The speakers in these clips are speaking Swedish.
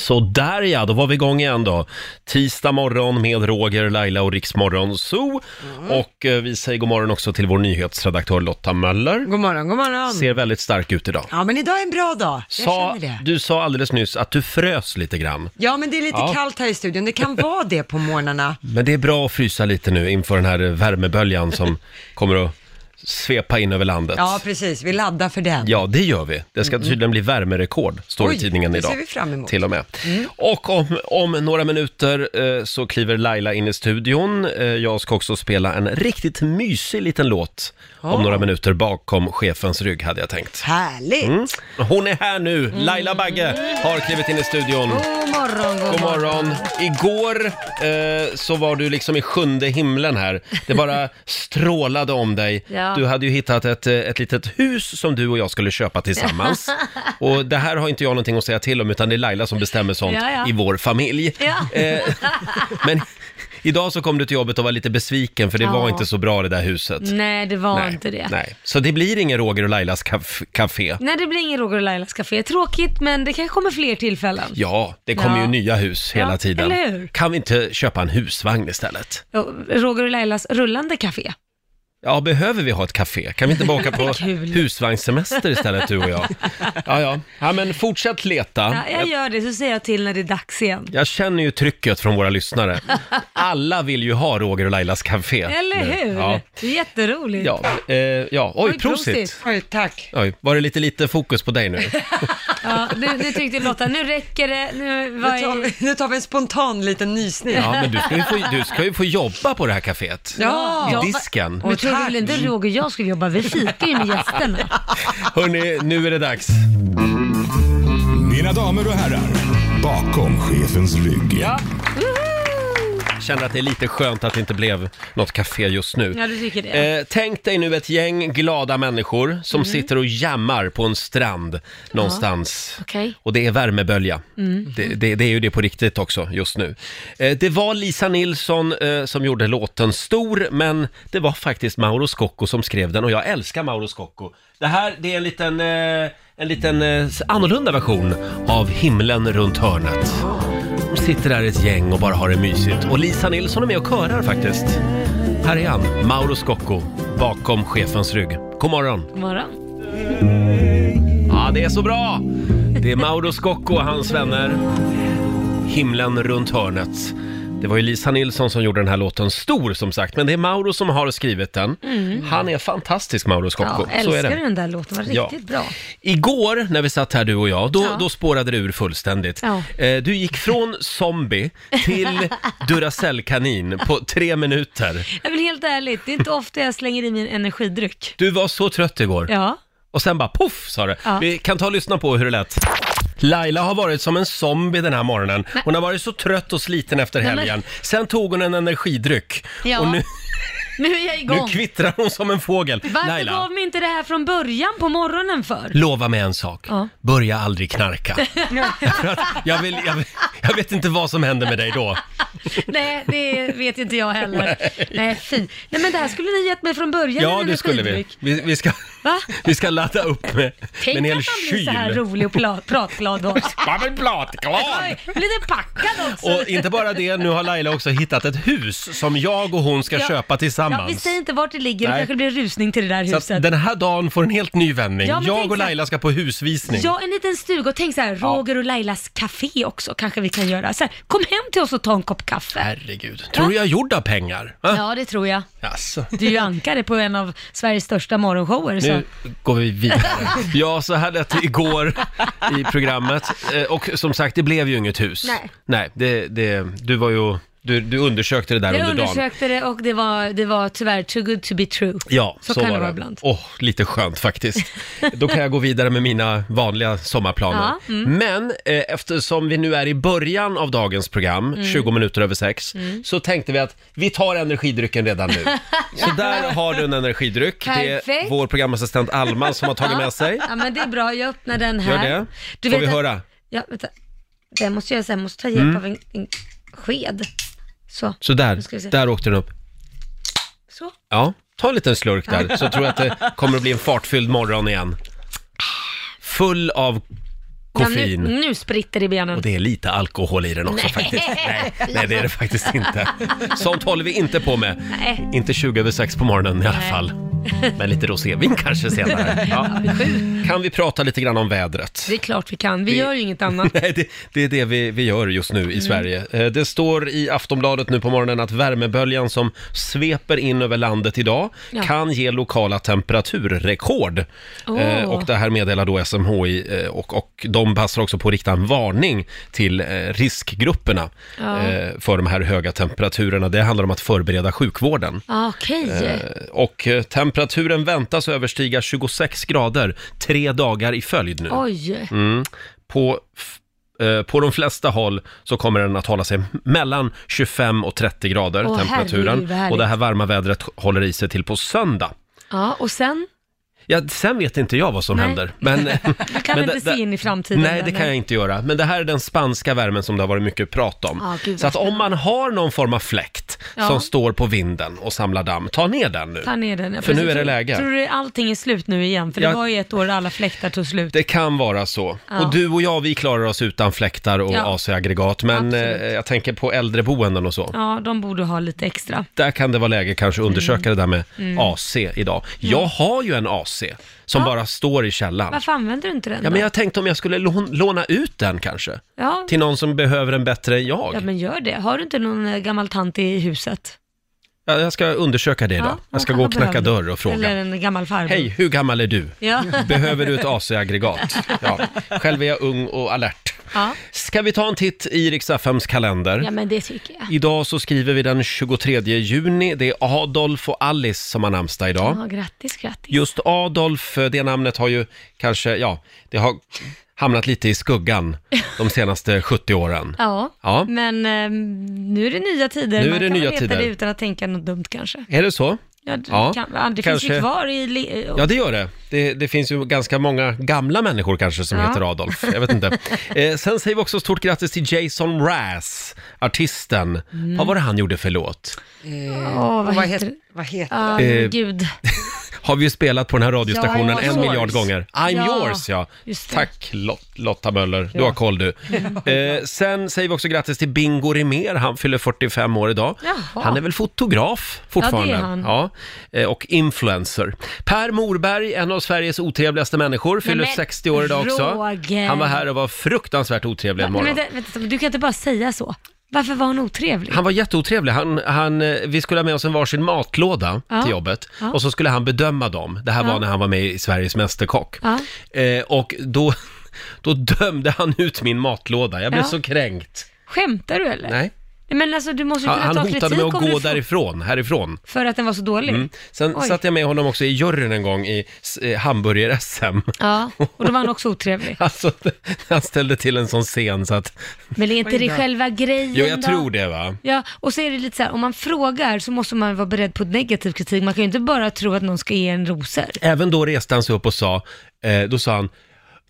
Sådär ja, då var vi igång igen då. Tisdag morgon med Roger, Laila och Riksmorgon Zoo. Mm. Och eh, vi säger god morgon också till vår nyhetsredaktör Lotta Möller. God morgon, god morgon. Ser väldigt stark ut idag. Mm. Ja, men idag är en bra dag. Jag Sa, känner det. du sa alldeles nyss att du frös lite grann. Ja, men det är lite Ja. kallt här i studion. Det kan vara det på morgnarna. Men det är bra att frysa lite nu inför den här värmeböljan som kommer att svepa in över landet. Ja, precis. Vi laddar för den. Ja, det gör vi. Det ska tydligen bli värmerekord, står i Mm, Oj, tidningen det idag. ser vi fram emot. Mm. Till och med. Och om, om några minuter eh, så kliver Laila in i studion. Eh, jag ska också spela en riktigt mysig liten låt om Åh. några minuter bakom chefens rygg, hade jag tänkt. Härligt. Mm. Hon är här nu! Mm. Laila Bagge har klivit in i studion. God morgon, god, God morgon! Igår eh, så var du liksom i sjunde himlen här. Det bara strålade om dig. Ja. Du hade ju hittat ett, eh, ett litet hus som du och jag skulle köpa tillsammans. Och det här har inte jag någonting att säga till om, utan det är Laila som bestämmer sånt Ja, ja. i vår familj. Ja. Eh, men idag så kom du till jobbet och var lite besviken, för det var Ja. inte så bra det där huset. Nej, det var inte det. Nej. Nej. Så det blir ingen Roger och Lailas kaf- café. det blir ingen Roger och Lailas café. Tråkigt, men det kanske kommer fler tillfällen. Ja, det kommer Ja. ju nya hus Ja, hela tiden. eller hur? Kan vi inte köpa en husvagn istället? Roger och Lailas rullande café. Ja, behöver vi ha ett café? Kan vi inte bara åka på Kul. husvagnssemester istället, du och jag? Ja, ja. ja men fortsätt leta. Ja, eh. jag gör det, så säger jag till när det är dags igen. Jag känner ju trycket från våra lyssnare. Alla vill ju ha Roger och Lailas café. Eller nu. hur? Ja. Det är jätteroligt. Ja, eh, ja. Oj, Oj, prosit. prosit! Oj, tack. Oj, var det lite, lite fokus på dig nu? Ja, nu, nu tyckte Lotta, nu räcker det. Nu, Nu vad tar, är... vi, nu tar vi en spontan liten nysning. Ja, men du ska ju få, du ska ju få jobba på det här caféet. Ja. Ja, I disken. Men tror du väl inte Roger och jag skulle jobba? Vi fikar ju med gästerna. Hörni, nu är det dags. Mina damer och herrar, bakom chefens rygg. Känner att det är lite skönt att det inte blev något café just nu. Ja, du tycker det. Mhm. Eh, tänk dig nu ett gäng glada människor som sitter och jammar på en strand någonstans. Okej. Och det är värmebölja. Det, det, det är ju det på riktigt också just nu. Eh, det var Lisa Nilsson eh, som gjorde låten stor, men det var faktiskt Mauro Scocco som skrev den och jag älskar Mauro Scocco. Det här, det är en liten, eh, en liten eh, annorlunda version av Himlen runt hörnet. De sitter där ett gäng och bara har det mysigt. Och Lisa Nilsson är med och körar faktiskt. Här är han, Mauro Scocco, bakom chefens rygg. God morgon! God morgon. Ja, det är så bra! Det är Mauro Scocco och hans vänner. Himlen runt hörnet. Det var ju Lisa Nilsson som gjorde den här låten stor som sagt, men det är Mauro som har skrivit den. Han är fantastisk, Mauro Scocco. Mm. Ja, så är älskar du det. den där låten? Det var Ja. riktigt bra. Igår när vi satt här du och jag, då, Ja. då spårade det ur fullständigt. Ja. Eh, Du gick från zombie till Duracellkanin på tre minuter. Jag vill helt ärligt, det är inte ofta jag slänger i min energidryck. Du var så trött igår. Ja. Och sen bara poff sa det. Ja. Vi kan ta och lyssna på hur det lät. Laila har varit som en zombie den här morgonen. Hon har varit så trött och sliten efter Nej, men- helgen. Sen tog hon en energidryck. Ja. Och nu, Nu är jag nu igång. kvittrar hon som en fågel. Varför Laila, gav mig inte det här från början på morgonen för? lova mig en sak. Ja. Börja aldrig knarka. Därför att jag, vill, jag, vill, jag vet inte vad som händer med dig då. Nej, det vet inte jag heller. Nej, fy. Nej, men det här skulle ni gett mig från början. Ja, en det skulle vi. energidryck. Vi, vi, ska, Va? vi ska ladda upp med, med Tänk en hel att man blir så här kyl. rolig och pla- pratglad då. Vad vill platglad? Oj, Lite packad också. Och inte bara det, nu har Laila också hittat ett hus som jag och hon ska Ja. köpa tillsammans. Ja, vi säger inte vart det ligger, det Nej. kanske blir rusning till det där så att huset. den här dagen får en helt ny vändning. Ja, men jag tänk och så här- Laila ska på husvisning. Ja, en liten stuga och tänk så här, Roger och Lailas café också kanske vi kan göra. Så här, kom hem till oss och ta en kopp kaffe. Herregud, tror du jag är gjord av pengar? Va? Ja, det tror jag. Jaså. Du är ju ankare på en av Sveriges största morgonshower. Så. Nu går vi vidare. Ja, så här lät det igår i programmet. Eh, Och som sagt, det blev ju inget hus. Nej. Nej, det, det, du var ju... Du, du undersökte det där Jag under dagen. undersökte det och det var, det var tyvärr too good to be true. Ja, så, så, kan var det vara ibland. Åh, lite skönt faktiskt. Då kan jag gå vidare med mina vanliga sommarplaner. Ja, mm. Men eh, eftersom vi nu är i början av dagens program, Mm. 20 minuter över sex, så tänkte vi att vi tar energidrycken redan nu. så där har du en energidryck. Det är Perfekt. vår programassistent Alma som har tagit med sig. Ja, men det är bra. Jag öppnar den Gör här. det. Får vi att- höra? Mm. Ja, vänta. Det måste jag göra så här, jag måste ta hjälp av en, en sked. Så. Så Nu ska vi där, se. där åkte den upp. så. Ja, ta en liten slurk där så tror jag att det kommer att bli en fartfylld morgon igen. Full av koffein. Ah. Nu, nu spritter det i benen. Och det är lite alkohol i den också Nej. faktiskt. Nej, nej, det är det faktiskt inte. Sånt håller vi inte på med. Nej. Inte 20 över 6 på morgonen i alla Nej. fall. Men lite rosévin kanske senare. Ja. Kan vi prata lite grann om vädret? Det är klart vi kan. Vi gör ju inget annat. Nej, det, det är det vi, vi gör just nu i Mm. Sverige. Eh, Det står i Aftonbladet nu på morgonen att värmeböljan som sveper in över landet idag Ja. kan ge lokala temperaturrekord. Eh, Åh. Och det här meddelar då SMHI eh, och, och de passar också på att rikta en varning till eh, riskgrupperna Ja. eh, för de här höga temperaturerna. Det handlar om att förbereda sjukvården. Ah, Okej. Eh, Och eh, temperaturen väntas överstiga 26 grader tre dagar i följd nu. Oj. Mm. På, f- eh, på de flesta håll så kommer den att hålla sig mellan 25 och 30 grader, Åh, temperaturen. herregud, vad härligt. och det här varma vädret håller i sig till på söndag. Ja, och sen? Ja, sen vet inte jag vad som Nej. händer. Men, Du kan men inte det- se det- in i framtiden? Nej, det eller? kan jag inte göra. Men det här är den spanska värmen som det har varit mycket prat om. Ah, gud, så vad att om man har någon form av fläkt Ja. som står på vinden och samlar damm, ta ner den nu. Ta ner den. ja, För nu precis. är det läge. Tror du allting är slut nu igen? För Ja. det var ju ett år där alla fläktar tog slut. Det kan vara så. Ja. Och du och jag, vi klarar oss utan fläktar och Ja. AC-aggregat. Men eh, Absolut. jag tänker på äldreboenden och så. Ja, de borde ha lite extra. Där kan det vara läge kanske att undersöka Mm. det där med AC idag. Jag har ju en AC som Ja. bara står i källaren. Varför använder du inte den Ja, då? men jag tänkte om jag skulle lån- låna ut den kanske. ja. Till någon som behöver en bättre än jag. ja, men gör det. Har du inte någon eh, gammal tant i huset? Ja, Jag ska undersöka det Ja, idag. Jag de ska kan gå vara och knacka behövliga. dörr och fråga. Eller en gammal farbror? Hej, Mm. hur gammal är du? Ja. Behöver du ett AC-aggregat? Ja. Själv är jag ung och alert. ja. Ska vi ta en titt i Rix FMs kalender? ja, men det tycker jag. Idag så skriver vi den 23 juni. Det är Adolf och Alice som har namnsdag idag. Ja, grattis, grattis. Just Adolf, eh, det namnet har ju kanske, ja, det har hamnat lite i skuggan de senaste 70 åren. Ja, Ja. men eh, nu är det nya tider. Nu är Man det kan nya veta tider. det utan att tänka något dumt kanske. Är det så? Ja, det, Ja, kan, ja, det finns kanske. ju kvar i... li- Ja, det gör det. det. Det finns ju ganska många gamla människor kanske som Ja. heter Adolf. Jag vet inte. Eh, sen säger vi också stort grattis till Jason Mraz, artisten. Vad var det han gjorde för låt? Åh, Och vad, vad, heter heter, vad heter Ja, Eh, men gud. Har vi ju spelat på den här radiostationen Ja, I'm en yours. miljard gånger. I'm Ja, yours, ja. just det. Tack Lot- Lotta Möller, du har koll du. Eh, sen säger vi också grattis till Bingo Rimér, han fyller 45 år idag. Jaha. Han är väl fotograf fortfarande? Ja, det är han. Ja. Eh, och influencer. Per Morberg, en av Sveriges otrevligaste människor, fyller men 60 år idag också. Roger. Han var här och var fruktansvärt otrevlig en Nej, morgon. vänta, vänta, du kan inte bara säga så. Varför var hon otrevlig? Han var jätteotrevlig. Han, han, eh, vi skulle ha med oss en varsin matlåda Ja. till jobbet Ja. och så skulle han bedöma dem. Det här var Ja. när han var med i Sveriges Mästerkock. Ja. Eh, och då, då dömde han ut min matlåda. Jag blev Ja. så kränkt. Skämtar du eller? Nej. Nej, Men alltså du måste ju Han, kunna han ta hotade kritik med om att gå Mm. du får- därifrån, härifrån. För att den var så dålig? Sen Oj. satt jag med honom också i juryn en gång i s- eh, hamburger-SM. Ja, och då var han också otrevlig. Alltså, han ställde till en sån scen så att... Men är inte det själva grejen Jo, jag då? tror det va. Ja, och så är det lite så här, om man frågar så måste man vara beredd på negativ kritik. Man kan ju inte bara tro att någon ska ge en rosor. Även då reste han sig upp och sa, eh, då sa han,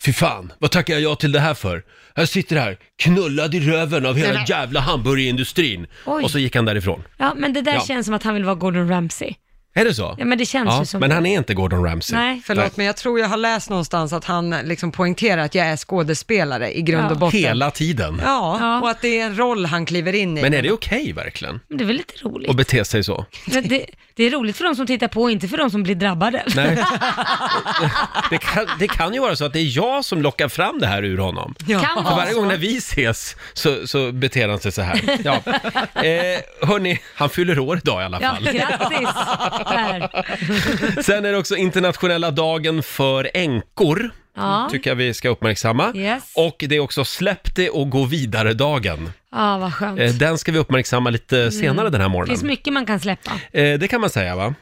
Fy fan, vad tackar jag ja till det här för? Jag sitter här, knullad i röven av hela jävla hamburgerindustrin. Oj. Och så gick han därifrån. Ja, men det där Ja. känns som att han vill vara Gordon Ramsay. Är det så? Ja, men det känns ju som Men det. han är inte Gordon Ramsay. Nej. Förlåt, men jag tror jag har läst någonstans att han liksom poängterar att jag är skådespelare i grund Ja. och botten. Hela tiden. Ja, Ja. och att det är en roll han kliver in i. Men är det okej verkligen? Men det är väl lite roligt? Att bete sig så? Men det, det är roligt för de som tittar på, inte för de som blir drabbade. Nej. det, kan, det kan ju vara så att det är jag som lockar fram det här ur honom. Ja. Kan För vara varje så. gång när vi ses så, så beter han sig så här. Ja. Eh, hörni, han fyller år idag i alla Ja, fall. grattis Per. Sen är det också internationella dagen för änkor. Ja. Tycker jag vi ska uppmärksamma. Yes. Och det är också släpp det och gå vidare-dagen. Ja, vad skönt. Eh, Det Den ska vi uppmärksamma lite senare den här Mm. finns Mm. morgonen. mycket man kan släppa. Eh, Det kan man säga va?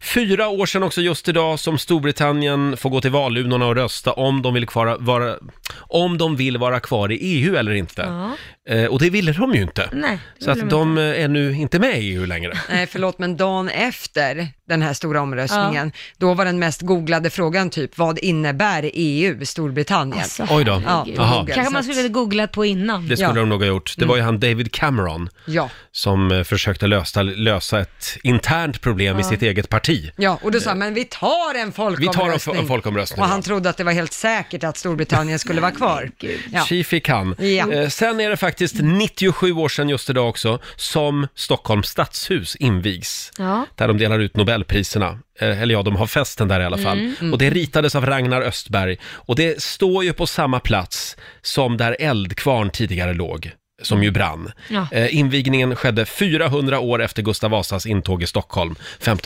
Fyra år sedan också just idag som Storbritannien får gå till valurnorna och rösta om de vill, kvara, vara, om de vill vara kvar i EU eller inte. Ja. Eh, Och det ville de ju inte. Nej, det Så vill att de eh, är nu inte med i EU längre. Nej, förlåt, men dagen efter den här stora omröstningen, då var den mest googlade frågan typ, vad innebär EU, Storbritannien? Alltså, Oj då. herregud. Jaha. Kanske man skulle ha googlat på innan. Det skulle Ja. Mm. de nog ha gjort. Det var ju han David Cameron Ja. som eh, försökte lösa, lösa ett internt problem i sitt eget parti. Ja, och då sa han, men vi tar en Vi folkomröstning. tar en fo- en folkomröstning, Och ja. han trodde att det var helt säkert att Storbritannien skulle vara kvar. Ja. Tji fick han. Ja. Eh, Sen är det faktiskt 97 år sedan just idag också som Stockholms stadshus invigs. Ja. Där de delar ut Nobelpriserna. Eh, Eller ja, de har festen där i alla fall. Mm, Och det ritades av Ragnar Östberg. Och det står ju på samma plats som där Eldkvarn tidigare låg som ju brann. Ja. Eh, invigningen skedde 400 år efter Gustav Vasas intåg i Stockholm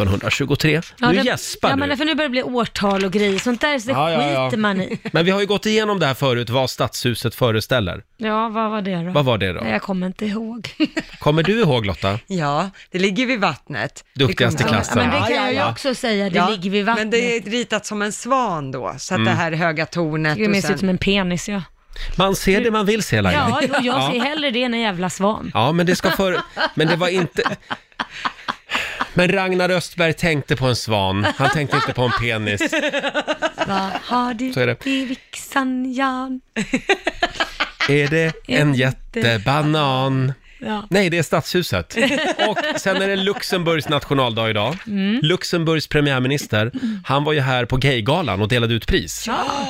1523. nu det- gäspar Ja, du. men för nu börjar det bli årtal och grejer. Sånt där så det Ja, ja, skiter ja. man i. Men vi har ju gått igenom det här förut, vad stadshuset föreställer. Ja, vad var det då? Vad var det Nej, då? jag kommer inte ihåg. Kommer du ihåg Lotta? Ja, det ligger vid vattnet. Det Duktigaste kommer- klassen. Ja, men det Ja, kan ja, jag ju ja. också säga, det ligger vid vattnet. Men det är ritat som en svan då, så att det Mm. här höga tornet Det är mer och ser ut som sen... en penis ja. Man ser det man vill se Laila. Ja, jo, jag ser hellre det än en jävla svan. Ja, men det ska för... Men det var inte... Men Ragnar Östberg tänkte på en svan, han tänkte inte på en penis. Vad har du Så är det. i vixan Jan? Är det en jättebanan? Ja. Nej, det är Stadshuset. Och sen är det Luxemburgs nationaldag idag. Luxemburgs premiärminister, han var ju här på Gaygalan och delade ut pris.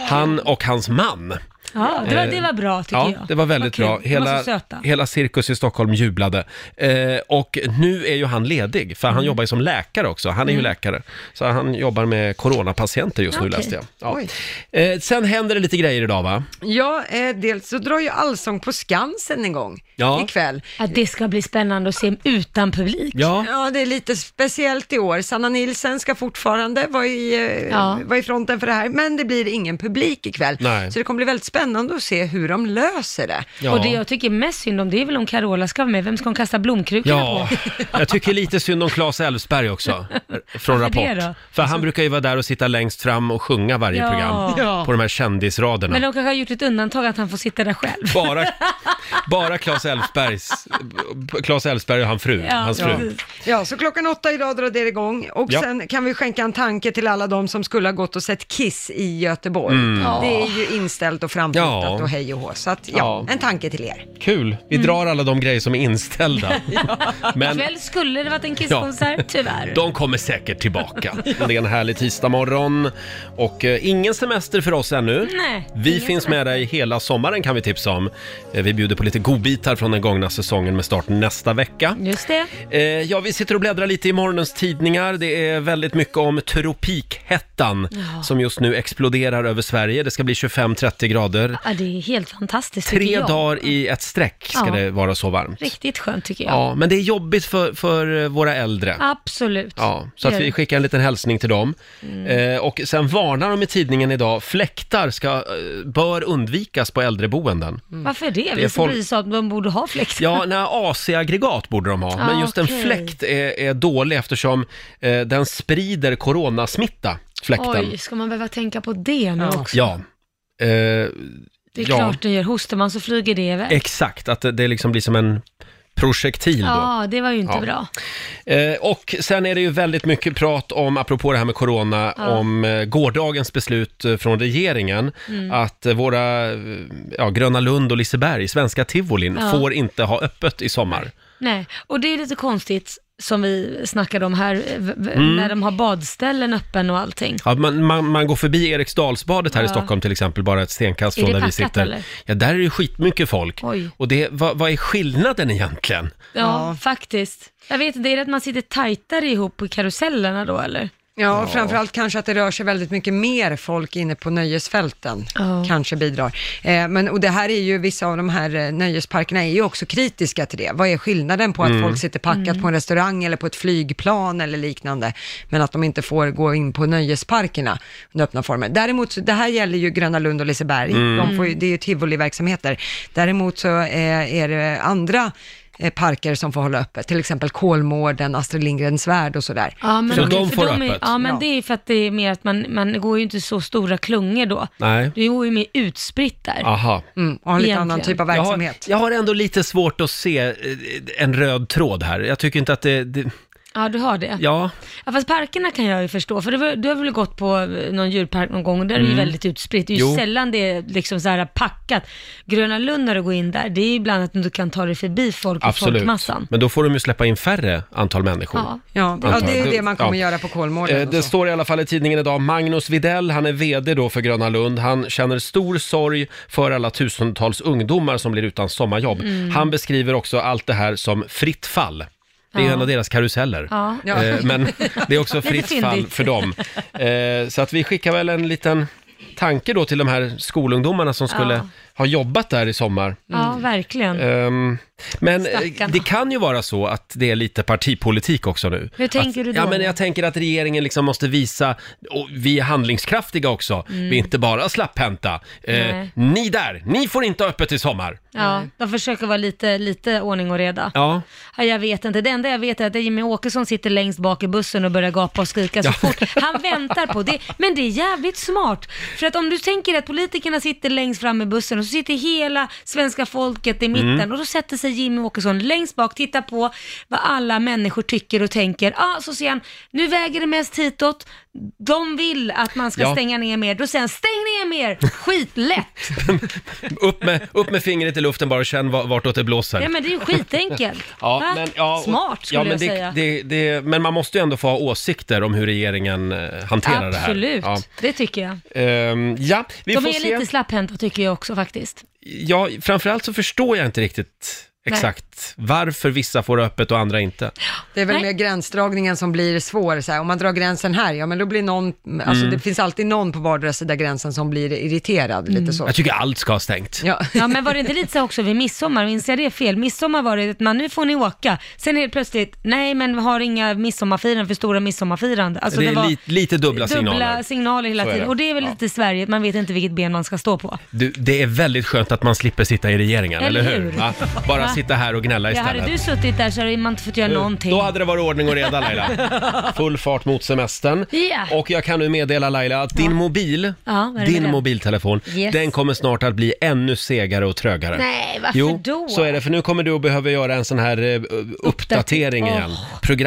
Han och hans man. Ja, det, var, det var bra tycker Ja, jag. det var väldigt kul. bra. De var Hela, så söta. hela Cirkus i Stockholm jublade. Eh, och nu är ju han ledig, för han Mm. jobbar ju som läkare också. Han är ju läkare. Så han jobbar med coronapatienter just nu Okej. läste jag. Ja. Eh, sen händer det lite grejer idag va? Ja, eh, dels så drar ju Allsång på Skansen en gång Ja. ikväll. Ja, det ska bli spännande att se utan publik. Ja. Ja, det är lite speciellt i år. Sanna Nilsen ska fortfarande vara i, eh, Ja. vara i fronten för det här, men det blir ingen publik ikväll. Nej. Så det kommer bli väldigt spännande att se hur de löser det. Ja. Och det jag tycker mest synd om det är väl om Carola ska vara med. Vem ska hon kasta blomkrukorna Ja, på? jag tycker lite synd om Claes Elfsberg också, från Varför Rapport. det då? Alltså- För han brukar ju vara där och sitta längst fram och sjunga varje Ja. program, på de här kändisraderna. Men de kanske har gjort ett undantag att han får sitta där själv. Bara, bara Claes Elfsbergs, Claes Elfsberg och han fru, Ja, hans fru. precis. Ja, så klockan åtta idag drar det igång och Ja. sen kan vi skänka en tanke till alla de som skulle ha gått och sett Kiss i Göteborg. Det är ju inställt och framflyttat Mm. Ja. och hej och hå. Så att, ja, Ja. en tanke till er. Kul, vi Mm. drar alla de grejer som är inställda. Men Ikväll skulle det varit en Kisskonsert, tyvärr. de kommer säkert tillbaka. Det är en härlig tisdagmorgon och eh, ingen semester för oss ännu. Nej, vi ingen finns med dig hela sommaren kan vi tipsa om. Eh, Vi bjuder på lite godbitar från den gångna säsongen med start nästa vecka. Just det. Eh, Ja, vi sitter och bläddrar lite i morgonens tidningar. Det är väldigt mycket om tropikhettan som just nu exploderar över Sverige. Det ska bli 25-30 grader. Ja, det är helt fantastiskt tycker Tre jag. dagar i ett streck ska Ja. det vara så varmt. Riktigt skönt tycker jag. Ja, men det är jobbigt för, för eh, våra äldre. Absolut. Ja, så att vi skickar en liten hälsning till dem. Mm. Eh, och sen varnar de i tidningen idag, fläktar ska, eh, bör undvikas på äldreboenden. Varför det? är Vi som folk- blir så att de borde ha fläkt. Ja, nej, AC-aggregat borde de ha, men Ah, just en okej. fläkt är, är dålig eftersom eh, den sprider coronasmitta, fläkten. Oj, ska man behöva tänka på det nu också? Ja. Eh, Det är ja, klart det gör. Hostar man så flyger det iväg. exakt, att det- det liksom blir som en projektil då. Ja, det var ju inte Ja. bra. Eh, och sen är det ju väldigt mycket prat om, apropå det här med corona, om eh, gårdagens beslut eh, från regeringen Mm. att eh, våra, eh, ja, Gröna Lund och Liseberg, svenska tivolin, Ja. får inte ha öppet i sommar. Nej, och det är lite konstigt som vi snackade om här, eh, v- v- Mm. när de har badställen öppen och allting. Ja, man, man, man går förbi Eriksdalsbadet här i Ja. Stockholm till exempel, bara ett stenkast Är från det där vi packat, sitter. eller? Ja, där är det skitmycket folk. Oj. Och det, vad, vad är skillnaden egentligen? Ja, faktiskt. Jag vet inte, är det att man sitter tajtare ihop på karusellerna då eller? Ja, framförallt kanske att det rör sig väldigt mycket mer folk inne på nöjesfälten. Ja. Kanske bidrar. Eh, men, och det här är ju, vissa av de här eh, nöjesparkerna är ju också kritiska till det. Vad är skillnaden på att folk sitter packat på en restaurang eller på ett flygplan eller liknande, men att de inte får gå in på nöjesparkerna under öppna former. Däremot, så- det här gäller ju Gröna Lund och Liseberg. De får ju, det är ju tivoliverksamheter. Däremot så eh, är det andra eh, parker som får hålla öppet, till exempel Kolmården, Astrid Lindgrens värld och sådär. Ja, men Så okej, de för får är, öppet? Ja, men Ja. det är för att det är mer att man, man går ju inte så stora klungor då. Nej. Det går ju mer utspritt där. Aha. Mm, och har lite Egentligen. annan typ av Jag har, verksamhet. jag har ändå lite svårt att se eh, en röd tråd här. Jag tycker inte att det... det Ja, du har det. Ja. Ja, fast parkerna kan jag ju förstå, för du, var- du har väl gått på eh, någon djurpark någon gång och där är det ju väldigt utspritt. Det är ju Mm. Jo. sällan det är liksom så här packat. Gröna Lund när du går in där, det är ju ibland att du inte kan ta dig förbi folk och absolut. folkmassan. Men då får de ju släppa in färre antal människor. Ja. Ja, ja det är ju det man kommer Ja. göra på Kolmården. Eh, och Det så. står i alla fall i tidningen idag, Magnus Videll, han är VD då för Gröna Lund. Han känner stor sorg för alla tusentals ungdomar som blir utan sommarjobb. Mm. Han beskriver också allt det här som fritt fall. Det är Ja. en av deras karuseller. Ja. Ja. Eh, Men det är också Lite fritt fyndigt. fall för dem. Eh, Så att vi skickar väl en liten tanke då till de här skolungdomarna som skulle Ja. ha jobbat där i sommar. Ja, verkligen. Ehm, men eh, Stackarna. det kan ju vara så att det är lite partipolitik också nu. Hur tänker att, du då? Ja, men jag tänker att regeringen liksom måste visa, och vi är handlingskraftiga också, vi är inte bara slapphänta. Eh, Mm. Nej. ni där, ni får inte ha öppet i sommar. Ja, de försöker vara lite, lite ordning och reda. Ja, Ja, jag vet inte. Det enda jag vet är att Jimmy Åkesson sitter längst bak i bussen och börjar gapa och skrika så Ja. fort. Han väntar på det. Men det är jävligt smart. För att om du tänker att politikerna sitter längst fram i bussen och så sitter hela svenska folket i mitten Mm. och då sätter sig Jimmy Åkesson längst bak, tittar på vad alla människor tycker och tänker. Ja, ah, så ser han, nu väger det mest hitåt. De vill att man ska Ja. stänga ner mer. Då säger han, stäng ner mer! Skitlätt! upp med, upp med fingret i luften bara och känn va- vartåt det blåser. Ja, men det är ju skitenkelt. Va? och- Smart skulle ja, men jag det, säga. Det, det, men man måste ju ändå få ha åsikter om hur regeringen eh, hanterar Absolut, det här. det tycker jag. Ja. Ehm, ja, vi De får är se. lite slapphänta tycker jag också faktiskt. Ja, framförallt så förstår jag inte riktigt Nej. exakt varför vissa får öppet och andra inte. Det är väl Nej. mer gränsdragningen som blir svår. Så här. Om man drar gränsen här, ja men då blir någon, alltså Mm. det finns alltid någon på vardera sida gränsen som blir irriterad, Mm. lite så. Jag tycker allt ska ha stängt. Ja. Ja men var det inte lite så också vid midsommar, minns jag det fel? Midsommar var det att man, nu får ni åka. Sen helt plötsligt, nej men vi har inga midsommarfirande för stora midsommarfirande. Alltså, det är var li- lite dubbla, signaler. dubbla signaler hela Så är tiden. det. Och det är väl Ja. lite Sverige, att man vet inte vilket ben man ska stå på. Du, det är väldigt skönt att man slipper sitta i regeringen, eller, Eller hur? hur? Va? Bara Va? sitta här och gnälla Ja, istället. hade du suttit där så hade man inte fått göra någonting. Då hade det varit ordning och reda Laila. Full fart mot semestern. Ja. Och jag kan nu meddela Laila att din mobil, Ja, vad är det med din den? mobiltelefon, Yes. den kommer snart att bli ännu segare och trögare. Nej, varför jo, Ah, då? så är det. För nu kommer du att behöva göra en sån här eh, uppdatering Åh. igen.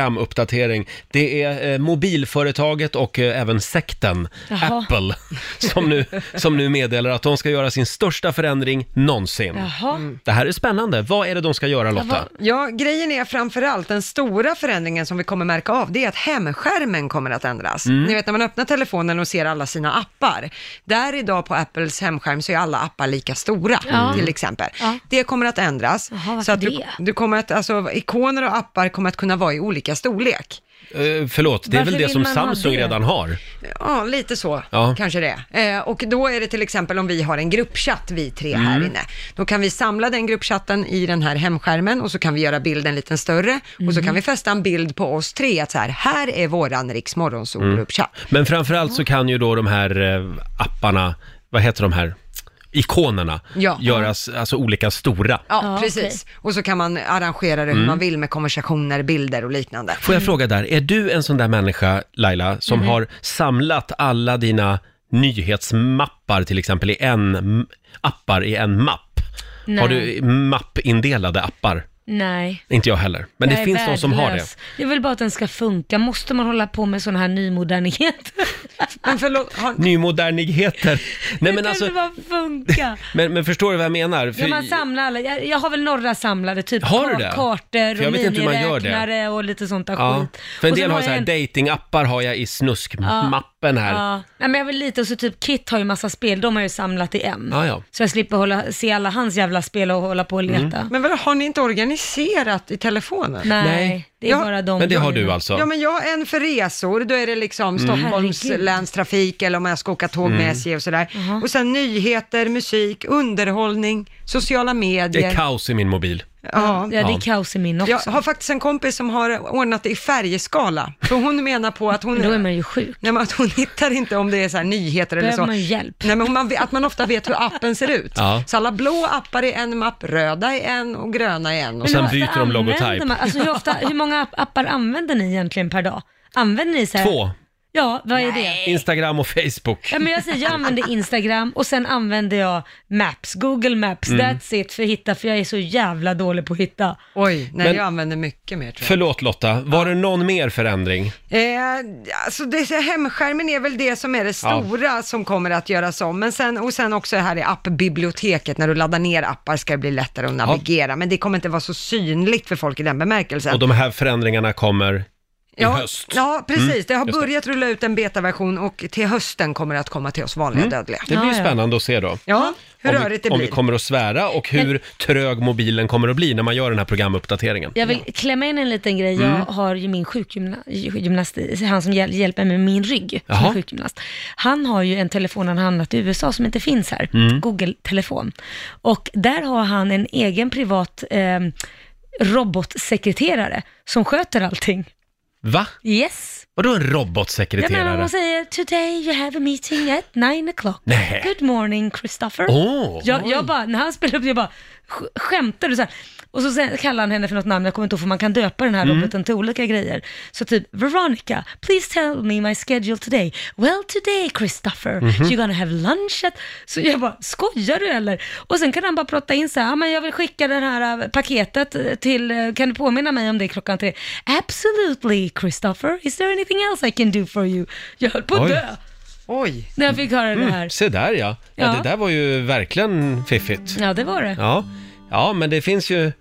Programuppdatering. Det är eh, mobilföretaget och eh, även sekten Jaha. Apple som nu, som nu meddelar att de ska göra sin största förändring någonsin. Jaha. Det här är spännande. Vad är det de ska göra Lotta? vad- Ja, grejen är framförallt den stora förändringen som vi kommer märka av, det är att hemskärmen kommer att ändras. Mm. Ni vet när man öppnar telefonen och ser alla sina appar. Där idag på Apples hemskärm så är alla appar lika stora, Ja. Mm. till exempel. Ja. Det kommer att ändras. Jaha, varför så att du, det? du kommer att, alltså, ikoner och appar kommer att kunna vara i olika storlek. Eh, förlåt, det är Varför väl det vill som man ha Samsung det? redan har? Ja, lite så Ja. kanske det är. eh, Och då är det till exempel om vi har en gruppchatt, vi tre här inne. Då kan vi samla den gruppchatten i den här hemskärmen och så kan vi göra bilden lite större. Och så kan vi fästa en bild på oss tre, att så här, här är våran Riks gruppchatt Men framförallt så kan ju då de här eh, apparna, vad heter de här? Ikonerna Ja. göras alltså olika stora. Ja, Ja, precis. Och så kan man arrangera det hur man vill med konversationer, bilder och liknande. Får Mm. jag fråga där, är du en sån där människa Laila Mm-hmm. som har samlat alla dina nyhetsmappar till exempel i en m- appar i en mapp? Nej. Har du mappindelade appar? Nej. Inte jag heller, men det jag är finns de som har det. värdelös. Jag vill bara att den ska funka. Måste man hålla på med sån här nymodernhet? Men förlåt, har, Nymodernigheter. Nej men det alltså, kan bara funka. men, men förstår du vad jag menar? För- Ja, man samlar alla. Jag, jag har väl några samlade, typ Har du kar- det? För kartor jag och vet inte hur man gör det. miniräknare och lite sånt där Ja, skit. för en Och del sen har så jag här, en- datingappar har jag i snuskmappen här. Ja. Ja. Nej, men jag vill lite och så typ Kit har ju massa spel, de har jag ju samlat i en. Ja, ja. Så jag slipper hålla, se alla hans jävla spel och hålla på och leta. men vadå, har ni inte organiserat i telefonen? Nej, Nej. det är Ja, bara de. Men det har grejerna. du alltså? Ja, men jag har en för resor, då är det liksom Mm. Stockholms Herregud. länstrafik eller om jag ska åka tåg med SJ och sådär. Och sen nyheter, musik, underhållning, sociala Det är medier. kaos i min mobil. Ja. Ja, det Ja. är kaos i min också. Jag har faktiskt en kompis som har ordnat det i färgskala, för hon menar på att hon... Men då är man ju sjuk. Nej, men att hon hittar inte om det är så här nyheter eller Behöver så. man hjälp? Nej, men hon- man, vet- att man ofta vet hur appen ser ut. Ja. Så alla blå appar i en mapp, röda i en och gröna i en. Och Men så. sen hur ofta byter de använder logotyp. man- Alltså, hur, ofta, hur många app- appar använder ni egentligen per dag? Använder ni så här? Två. Ja, vad är det? Instagram och Facebook. Ja, men jag säger, jag använder Instagram och sen använder jag Maps, Google Maps, Mm. that's it för att hitta, för jag är så jävla dålig på att hitta. Oj, nej Men- jag använder mycket mer tror jag. Förlåt Lotta, var det någon mer förändring? Eh, alltså det, hemskärmen är väl det som är det stora som kommer att göras om. Men sen, och sen också här i appbiblioteket, när du laddar ner appar ska det bli lättare att navigera. Men det kommer inte vara så synligt för folk i den bemärkelsen. Och de här förändringarna kommer i ja, höst. Mm, Ja, precis. det har just det. börjat rulla ut en betaversion och till hösten kommer det att komma till oss vanliga dödliga. Mm. Det blir Ja, ja. spännande att se då. Ja, hur om, vi, rörigt det om blir. vi kommer att svära och hur trög mobilen kommer att bli när man gör den här programuppdateringen. Jag vill klämma in en liten grej. Mm. Jag har ju min sjukgymnast, han som hjäl- hjälper mig med min rygg, som Jaha. är sjukgymnast. Han har ju en telefon han har handlat i USA som inte finns här, Mm. Google-telefon. Och där har han en egen privat eh, robotsekreterare som sköter allting. Va? Yes. Vadå en Jag menar robotsekreterare? hon säger “Today you have a meeting at 9 o'clock. Nej. Good morning Christopher”. Åh! Jag, jag bara, när han spelade upp det, jag bara, sk- skämtar du? Så här. Och så sen kallar han henne för något namn, jag kommer inte ihåg, för man kan döpa den här Mm. roboten till olika grejer. Så typ, Veronica, please tell me my schedule today. Well today Christopher, Mhm. you're gonna have lunch at... Så jag bara, skojar du eller? Och sen kan han bara prata in så här, "Ja, men jag vill skicka det här äh, paketet äh, till, äh, kan du påminna mig om det klockan tre? Absolutely Christopher, is there anything else I can do for you? Jag höll på att Oj. Mm. dö Oj, när jag fick höra det här. Se där ja. ja. Ja. det där var ju verkligen fiffigt. Ja, det var det. Ja, ja men det finns ju...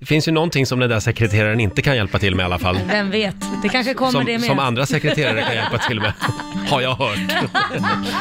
Det finns ju någonting som den där sekreteraren inte kan hjälpa till med i alla fall. Vem vet, det kanske kommer det Som, med. som andra sekreterare kan hjälpa till med, har jag hört.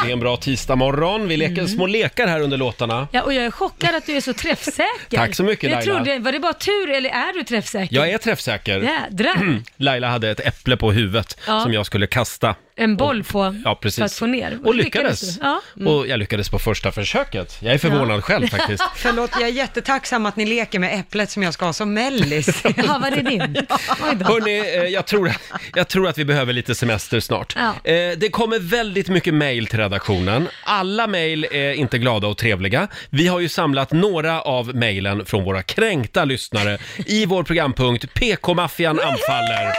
Det är en bra tisdagmorgon. Vi leker små lekar här under låtarna. Ja, och jag är chockad att du är så träffsäker. Tack så mycket, jag Laila. Trodde, var det bara tur eller är du träffsäker? Jag är Mm. träffsäker. Jädrar, Laila hade ett äpple på huvudet Ja. som jag skulle kasta. en boll på Ja, precis. för att få ner. Och lyckades. du. Ja. Mm. Och jag lyckades på första försöket. Jag är förvånad själv faktiskt. förlåt, jag är jättetacksam att ni leker med äpplet som jag ska ha som mellis. Jaha, var det din? Oj då. Hörni, eh, jag tror, jag tror att vi behöver lite semester snart. Ja. Eh, Det kommer väldigt mycket mejl till redaktionen. Alla mejl är inte glada och trevliga. Vi har ju samlat några av mejlen från våra kränkta lyssnare i vår programpunkt PK-maffian anfaller.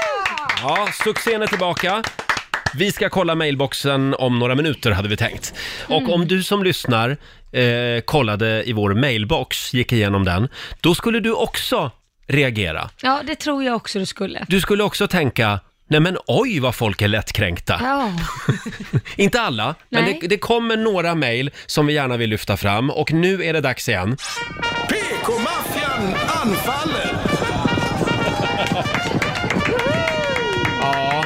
Ja, succén är tillbaka. Vi ska kolla mailboxen om några minuter hade vi tänkt. Och om du som lyssnar eh, kollade i vår mailbox, gick igenom den, då skulle du också reagera. Ja, det tror jag också du skulle. Du skulle också tänka, nej men oj vad folk är lättkränkta. Ja, Inte alla, men Nej. det, det kommer några mejl som vi gärna vill lyfta fram och nu är det dags igen. PK-maffian anfaller! Ja,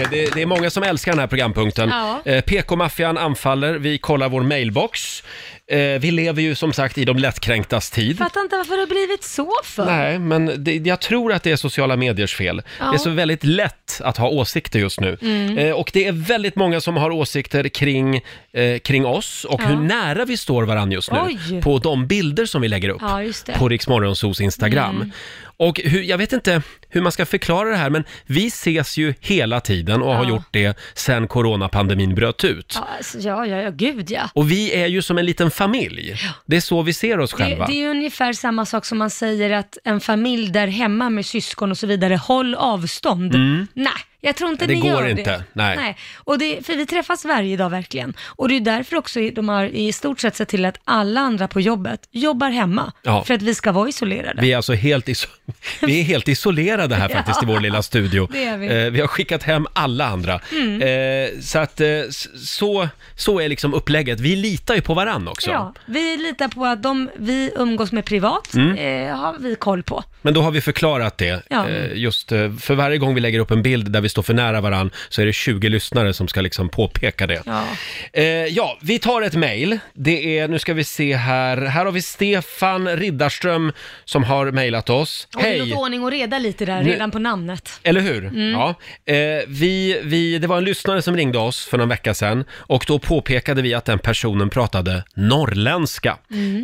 eh, det, det är många som älskar den här programpunkten. Ja. Eh, PK-maffian anfaller, vi kollar vår mailbox. Eh, vi lever ju som sagt i de lättkränktas tid. fattar inte varför det har blivit så för. Nej, men det, jag tror att det är sociala mediers fel. Det är så väldigt lätt att ha åsikter just nu. Mm. Eh, och det är väldigt många som har åsikter kring, eh, kring oss och hur nära vi står varandra just nu Oj. på de bilder som vi lägger upp Ja, just det. Mm. på Riksmorgonsos Instagram. Och hur, jag vet inte hur man ska förklara det här, men vi ses ju hela tiden och har Ja. gjort det sedan coronapandemin bröt ut. Ja, alltså, ja, ja, ja, gud ja. Och vi är ju som en liten familj. Det är så vi ser oss Det, själva. det är ju ungefär samma sak som man säger att en familj där hemma med syskon och så vidare, håll avstånd. Nej, jag tror inte Mm. Det ni går gör inte, det. nej. Och det, för vi träffas varje dag verkligen. Och det är därför också de har i stort sett sett till att alla andra på jobbet jobbar hemma. Ja. För att vi ska vara isolerade. Vi är alltså helt, iso- vi är helt isolerade här faktiskt i vår lilla studio. det är vi. Mm. Eh, vi har skickat hem alla andra. Eh, så att eh, s- så, så är liksom upplägget. Vi litar ju på varann också. Ja, vi litar på att de vi umgås med privat Mm. eh, har vi koll på. Men då har vi förklarat det. Ja. Eh, just eh, för varje gång vi lägger upp en bild där vi står för nära varann så är det 20 lyssnare som ska liksom påpeka det. Ja. Eh, ja, vi tar ett mejl. Det är, nu ska vi se här. Här har vi Stefan Riddarström som har mejlat oss. Och vi låter ordning och reda lite där, redan på namnet. Eller hur? Ja. Eh, vi, vi, det var en lyssnare som ringde oss för någon vecka sedan och då påpekade vi att den personen pratade norrländska.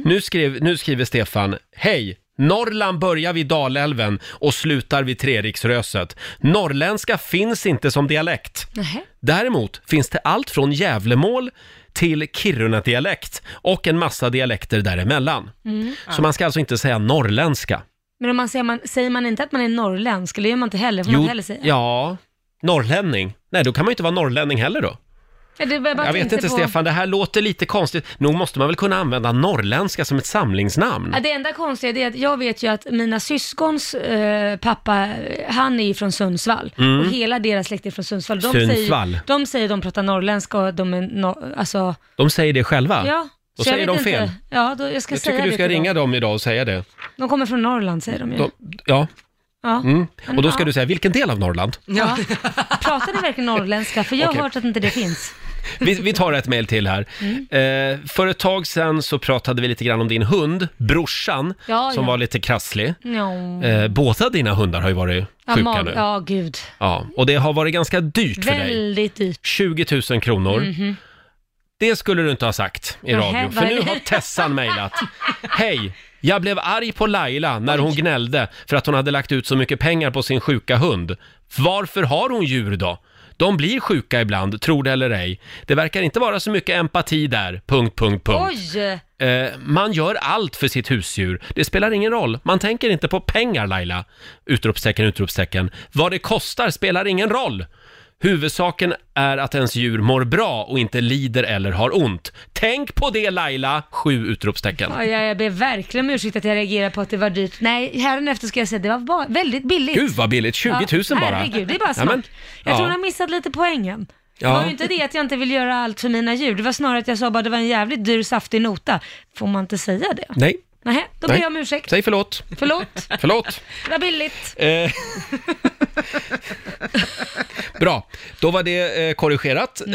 Nu, skrev, nu skriver Stefan, hej! Norrland börjar vid Dalälven och slutar vid Treriksröset. Norrländska finns inte som dialekt. Nähä. Däremot finns det allt från Gävlemål till Kiruna-dialekt och en massa dialekter däremellan. Så man ska alltså inte säga norrländska. Men om man säger, man, säger man inte att man är norrländsk, eller gör man inte heller, får man inte heller säga. ja. Norrlänning? Nej, då kan man ju inte vara norrlänning heller då. Ja, det var bara Jag vet tänkte inte på- Stefan, det här låter lite konstigt. Nog måste man väl kunna använda norrländska som ett samlingsnamn? Ja, det enda konstiga det är att jag vet ju att mina syskons eh, pappa, han är ju från Sundsvall. Och hela deras släkt är från Sundsvall. De Mm. Sundsvall. Säger, de säger de pratar norrländska och de är no, alltså, De säger det själva. ja. Då Så jag säger de vet fel. Inte. Ja, då, jag ska Jag säga tycker du det ska till dem. ringa dem idag och säga det. De kommer från Norrland säger de ju. De, ja, ja. mm. och då ska Ja. du säga vilken del av Norrland? Ja. Pratar ni verkligen norrländska? För jag har Okej. hört att inte det finns. Vi, vi tar ett mejl till här. Mm. Eh, för ett tag sedan så pratade vi lite grann om din hund, brorsan, Ja, som ja. var lite krasslig. Ja, Eh, båda dina hundar har ju varit ja, sjuka mag- nu. ja gud. Ja, och det har varit ganska dyrt för dig. Väldigt dyrt. 20 000 kronor. Det skulle du inte ha sagt i Mhm. Nähä, radio, för vad är nu det? har Tessan mejlat. Hej! Jag blev arg på Laila när hon gnällde för att hon hade lagt ut så mycket pengar på sin sjuka hund. Varför har hon djur då? De blir sjuka ibland, tror det eller ej. Det verkar inte vara så mycket empati där, punkt, punkt, punkt. Oj! Eh, man gör allt för sitt husdjur. Det spelar ingen roll. Man tänker inte på pengar, Laila. Utropstecken, utropstecken. Vad det kostar spelar ingen roll. Huvudsaken är att ens djur mår bra och inte lider eller har ont. Tänk på det, Laila! Sju utropstecken. Ja, jag, jag ber verkligen om ursäkt att jag reagerar på att det var dyrt. Nej, hädanefter ska jag säga att det var ba- väldigt billigt. Gud vad billigt! 20 000 ja, bara. Herregud, det är bara smak. men, jag ja. tror hon har missat lite poängen. Ja. Det var ju inte det att jag inte vill göra allt för mina djur. Det var snarare att jag sa bara det var en jävligt dyr saftig nota. Får man inte säga det? Nej, Nej, då Nej. ber jag om ursäkt. säg förlåt. Förlåt, Förlåt. det var billigt. Eh. Bra, då var det eh, korrigerat. Eh,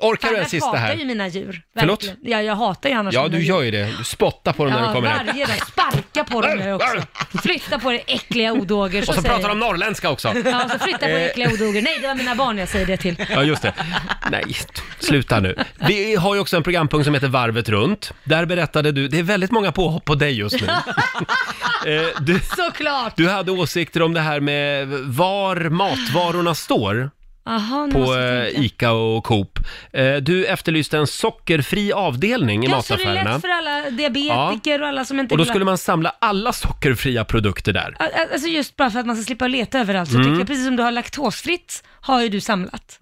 orkar du en Annars sista Mm. hatar här? ju mina djur. Förlåt? verkligen. Ja, jag hatar ju annars Ja, mina du djur. gör ju det. Du spottar på dem när Ja, du kommer hem. varje dag. Sparka på dem nu också. Flytta på er äckliga odågor. Och så säger pratar de jag. norrländska också. Ja, så flytta på er äckliga odågor. Nej, det var mina barn jag säger det till. Ja, just det. Nej, t- sluta nu. Vi har ju också en programpunkt som heter Varvet runt. Där berättade du, det är väldigt många påhopp på dig just nu. Eh, du, Såklart! du hade åsikter om det här med var matvarorna står Aha, nu på måste jag eh, tänka. ICA och Coop. Eh, Du efterlyste en sockerfri avdelning i Ja, så det är mataffärerna. lätt för alla diabetiker och alla som inte Och då vill ha- skulle man samla alla sockerfria produkter där. Al- al- Alltså just bara för att man ska slippa leta överallt Mm. så tycker jag precis som du har laktosfritt har ju du samlat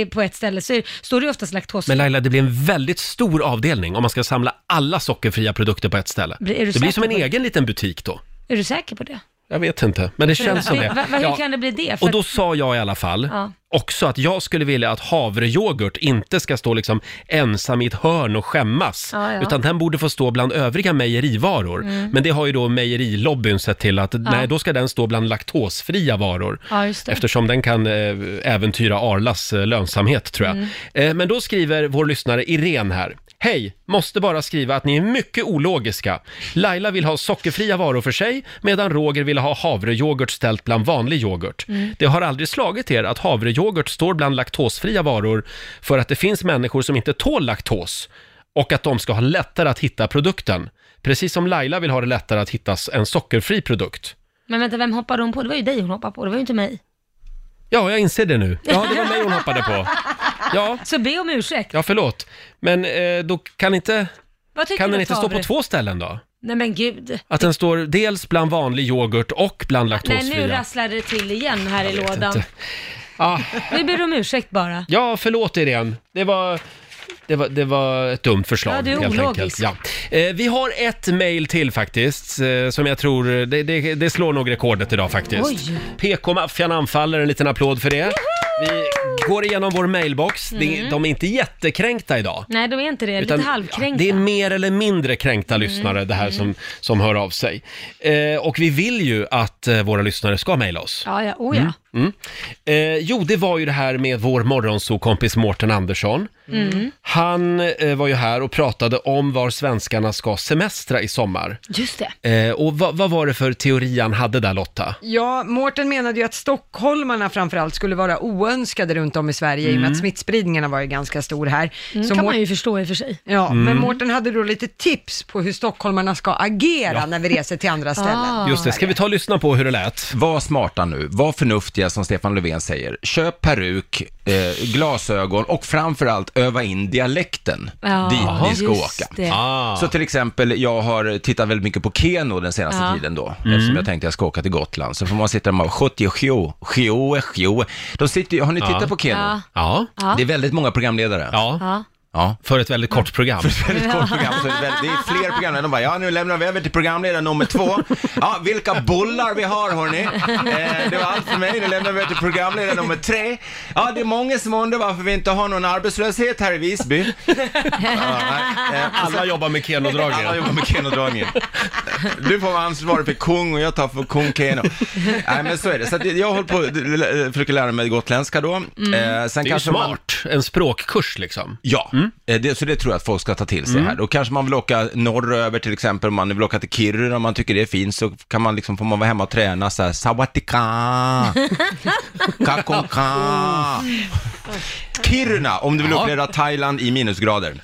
Eh, på ett ställe så är- står det ju oftast laktosfritt. Mm. Men Laila, det blir en väldigt stor avdelning om man ska samla alla sockerfria produkter på ett ställe. Blir- är du det blir säker som en på det? egen liten butik då. Är du säker på det? Jag vet inte, men det känns som Va- det. va- hur Ja. kan det bli det? För Och då att- sa jag i alla fall Ja. också att jag skulle vilja att havrejoghurt inte ska stå liksom ensam i ett hörn och skämmas. Ja, Mm. ja. Utan den borde få stå bland övriga mejerivaror. Men det har ju då mejerilobbyn sett till att nej, då ska den stå bland laktosfria varor. Ja, just det. Eftersom den kan eh, äventyra Arlas eh, lönsamhet tror jag. Mm. Eh, men då skriver vår lyssnare Irene här. Hej! Måste bara skriva att ni är mycket ologiska. Laila vill ha sockerfria varor för sig medan Roger vill ha havrejoghurt ställt bland vanlig yoghurt. Mm. Det har aldrig slagit er att havrejoghurt står bland laktosfria varor för att det finns människor som inte tål laktos och att de ska ha lättare att hitta produkten. Precis som Laila vill ha det lättare att hitta en sockerfri produkt. Men vänta, vem hoppade hon på? Det var ju dig hon hoppade på, det var ju inte mig. Ja, jag inser det nu. Ja, det var mig hon hoppade på. Ja, Så be om ursäkt. ja förlåt. Men eh, då kan inte, Vad tycker kan du den inte stå på Tavre? två ställen då? Nej men gud. Att den står dels bland vanlig yoghurt och bland Nej nu laktosfria. rasslar det till igen här i lådan. inte. Ah, Nu ber du om ursäkt bara. ja, förlåt Irene. Det var, det var, det var ett dumt förslag Ja, du är helt enkelt. ologisk. Ja. Eh, vi har ett mejl till faktiskt, eh, som jag tror, det, det, det slår nog rekordet idag faktiskt. Oj. PK-maffian anfaller, en liten applåd för det. Vi går igenom vår mailbox. Mm. Det- De är inte jättekränkta idag. Nej då är inte det, Utan, lite halvkränkta. ja, Det är mer eller mindre kränkta lyssnare det här som, som hör av sig. Eh, och vi vill ju att eh, våra lyssnare ska mejla oss. Ja, ja, oh ja. Mm. Eh, jo, det var ju det här med vår morgonsokompis Mårten Andersson. Han eh, var ju här och pratade om var svenskarna ska semestra i sommar. Just det. Eh, och vad, vad var det för teori han hade där Lotta? Ja, Mårten menade ju att stockholmarna framförallt skulle vara oönskade runt om i Sverige i och med att smittspridningen har varit ganska stor här. Mm, Så kan Mår- man ju Mm. förstå i och för sig. Ja, men Mårten hade då lite tips på hur stockholmarna ska agera när vi reser till andra ställen. Ah. Just det, ska vi ta och lyssna på hur det lät? Var smarta nu, var förnuftiga som Stefan Löfven säger. Köp peruk, eh, glasögon och framförallt öva in dialekten Ja, dit ni ska just åka. det. Ah. Så till exempel, jag har tittat väldigt mycket på Keno den senaste Ja. Mm. tiden då, eftersom jag tänkte jag ska åka till Gotland. Så får man sitta där med 70 sjö, sjö, sjö. De sitter ju, har ni tittat Ja. på Keno? Ja. Ja. Ja. Det är väldigt många programledare. Ja. Ja. Ja. För ett väldigt kort program. Väldigt kort program, så det är, väldigt, det är fler programledare. De bara, ja nu lämnar vi över till programledare nummer två. Ja, vilka bullar vi har hörni. Eh, det var allt för mig, nu lämnar vi över till programledare nummer tre. Ja, det är många som undrar varför vi inte har någon arbetslöshet här i Visby. Ja, nej, eh, Alla jobbar med alla Keno-dragningar. jobbar med Keno-dragningen. Du får vara ansvarig för kung och jag tar för kung Keno. Nej men så är det. Så att jag håller på att försöker lära mig gotländska då. Eh, sen Det är ju kanske man- smart. En språkkurs liksom. Ja, eh, det, så det tror jag att folk ska ta till sig Mm. här. Då kanske man vill åka norröver till exempel, om man vill åka till Kiruna om man tycker det är fint, så kan man liksom, får man vara hemma och träna så här, sawatika, kakonka. Kiruna, om du vill Ja. uppleva Thailand i minusgrader.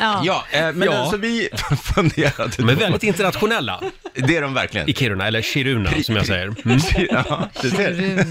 Ja. Ja, eh, men Ja. alltså vi funderade De är då. väldigt internationella Det är de verkligen. i Kiruna, eller Kiruna som jag säger. Mm. Ja, du ser.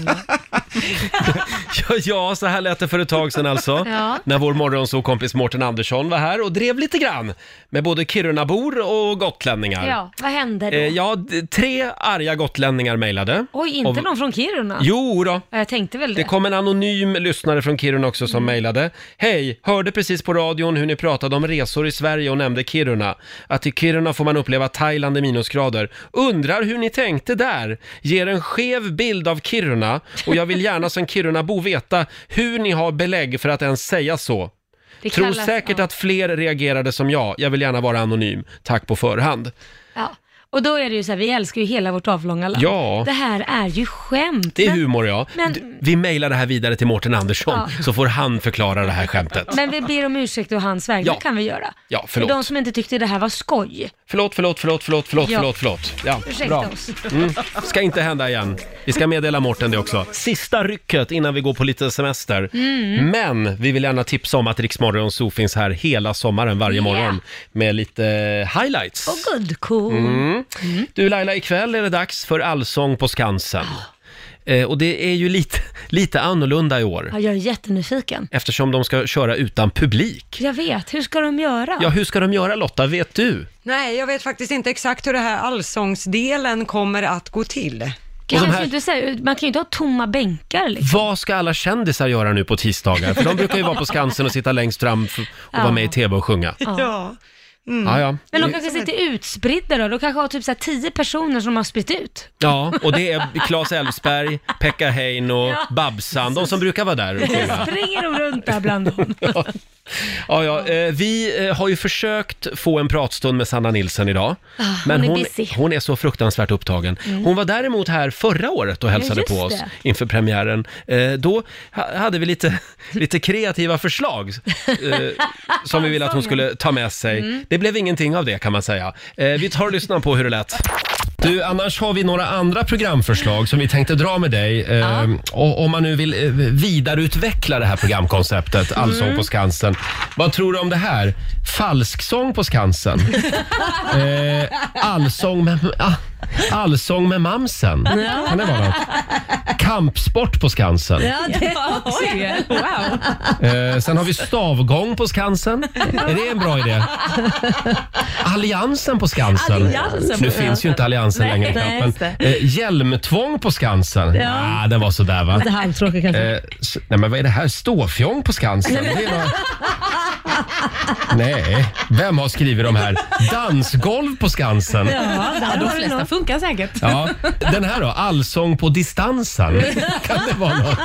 Ja, Ja, så här lät det för ett tag sedan alltså. Ja. När vår morgonsåkompis Mårten Andersson var här och drev lite grann med både Kirunabor och gotlänningar. ja, vad hände då? Eh, ja, d- tre arga gotlänningar mejlade. Oj, inte Och- någon från Kiruna? Jo då. Ja, Jag tänkte väl det. Mm. Det kom en anonym lyssnare från Kiruna också som mejlade. Hej! Hörde precis på radion hur ni pratade om resor i Sverige och nämnde Kiruna. Att i Kiruna får man uppleva Thailand i minusgrader. Undrar hur ni tänkte där? Ger en skev bild av Kiruna och jag vill gärna som Kirunabo veta hur ni har belägg för att ens säga så. Det Tror kallas- säkert ja. att fler reagerade som jag. Jag vill gärna vara anonym. Tack på förhand. Ja. Och då är det ju så här, vi älskar ju hela vårt avlånga land. Ja. Det här är ju skämt. Det är Men- humor ja. men- D- Vi mejlar det här vidare till Mårten Andersson så får han förklara det här skämtet. Men vi ber om ursäkt och hans väg, Ja. det kan vi göra. Ja, förlåt. För de som inte tyckte det här var skoj, Förlåt, förlåt, förlåt, förlåt, förlåt, Ja. förlåt, förlåt. Ja, ursäkta bra. Mm. oss. Ska inte hända igen. Vi ska meddela Mårten det också. Sista rycket innan vi går på lite semester. Mm. Men vi vill gärna tipsa om att Riksmorgon Zoo finns här hela sommaren varje Yeah. morgon med lite highlights. Och good cool. Mm. Mm. Du Laila, ikväll är det dags för Allsång på Skansen. Eh, och det är ju lite, lite annorlunda i år Ja, jag är jättenyfiken. eftersom de ska köra utan publik. Jag vet, hur ska de göra? Ja, hur ska de göra Lotta, vet du? Nej, jag vet faktiskt inte exakt hur det här allsångsdelen kommer att gå till. Det Och de känns här- ju inte så här, man kan ju inte ha tomma bänkar liksom. Vad ska alla kändisar göra nu på tisdagar? För de brukar ju vara på Skansen och sitta längst fram f- och Ja. vara med i TV och sjunga. Ja. Ja, ja. Men de kanske sitter utspridda då, de kanske har typ så här tio personer som de har spritt ut. ja, och det är Claes Elfsberg, Pekka Hein och Babsan, de som brukar vara där och sjunga. Springer de runt där bland dem? Ja, ja, eh, vi eh, har ju försökt få en pratstund med Sanna Nilsson idag, men Ah, hon är hon, busy. Mm. hon är så fruktansvärt upptagen. Hon var däremot här förra året och hälsade just på oss det. inför premiären. Eh, Då ha- hade vi lite, lite kreativa förslag eh, som vi ville att hon skulle ta med sig. Mm. Det blev ingenting av det kan man säga. Eh, Vi tar och lyssnar på hur det lät. Du, annars har vi några andra programförslag som vi tänkte dra med dig. Eh, och, om man nu vill eh, vidareutveckla det här programkonceptet, Mm. Allsång på Skansen. Vad tror du om det här? Falsksång på Skansen? eh, allsång, med, ah, allsång med mamsen? Kan det vara något? Kampsport på Skansen? Ja, det är också ju. Wow. Eh, sen har vi stavgång på Skansen. Är det en bra idé? Alliansen på Skansen. Alliansen på nu finns ju inte Alliansen längre. nej, knappt, men, eh, hjälmtvång på Skansen. Ja. Ah, den var sådär va? Lite halvtråkig kanske. Eh, s- nej men vad är det här? Ståfjong på Skansen? Det är några... Nej, vem har skrivit de här? Dansgolv på Skansen. Ja, där de flesta funkar säkert. Ja, den här då, Allsång på distansen. Kan det vara något?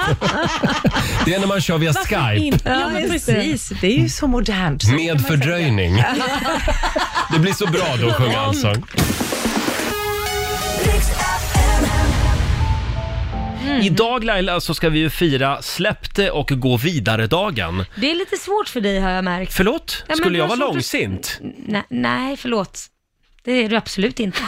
Det är när man kör via Skype. Ja, men precis. Det är ju så modernt. Med fördröjning. Det blir så bra då att sjunga allsång. Mm. Idag Laila så ska vi ju fira släpp det och gå vidare-dagen. Det är lite svårt för dig har jag märkt. Förlåt, men skulle jag vad vara svårt att- långsint? Nej, nej, förlåt. Det är du absolut inte.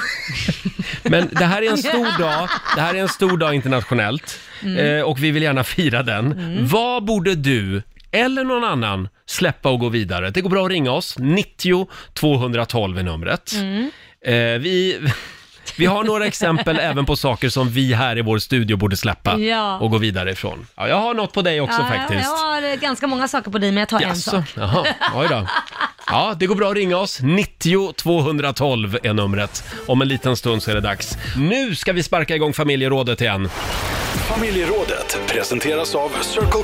Men det här är en stor dag, det här är en stor dag internationellt Mm. eh, och vi vill gärna fira den. Vad borde du eller någon annan släppa och gå vidare? Det går Mm. bra att ringa oss, 90 212 är numret. Eh, vi... Vi har några exempel även på saker som vi här i vår studio borde släppa Ja. och gå vidare ifrån. Ja, jag har något på dig också ja, faktiskt. Jag har eh, ganska många saker på dig, men jag tar en Jaså, sak. jaha, oj då. Ja, det går bra att ringa oss. 90 212 är numret. Om en liten stund så är det dags. Nu ska vi sparka igång familjerådet igen. Familjerådet presenteras av Circle K.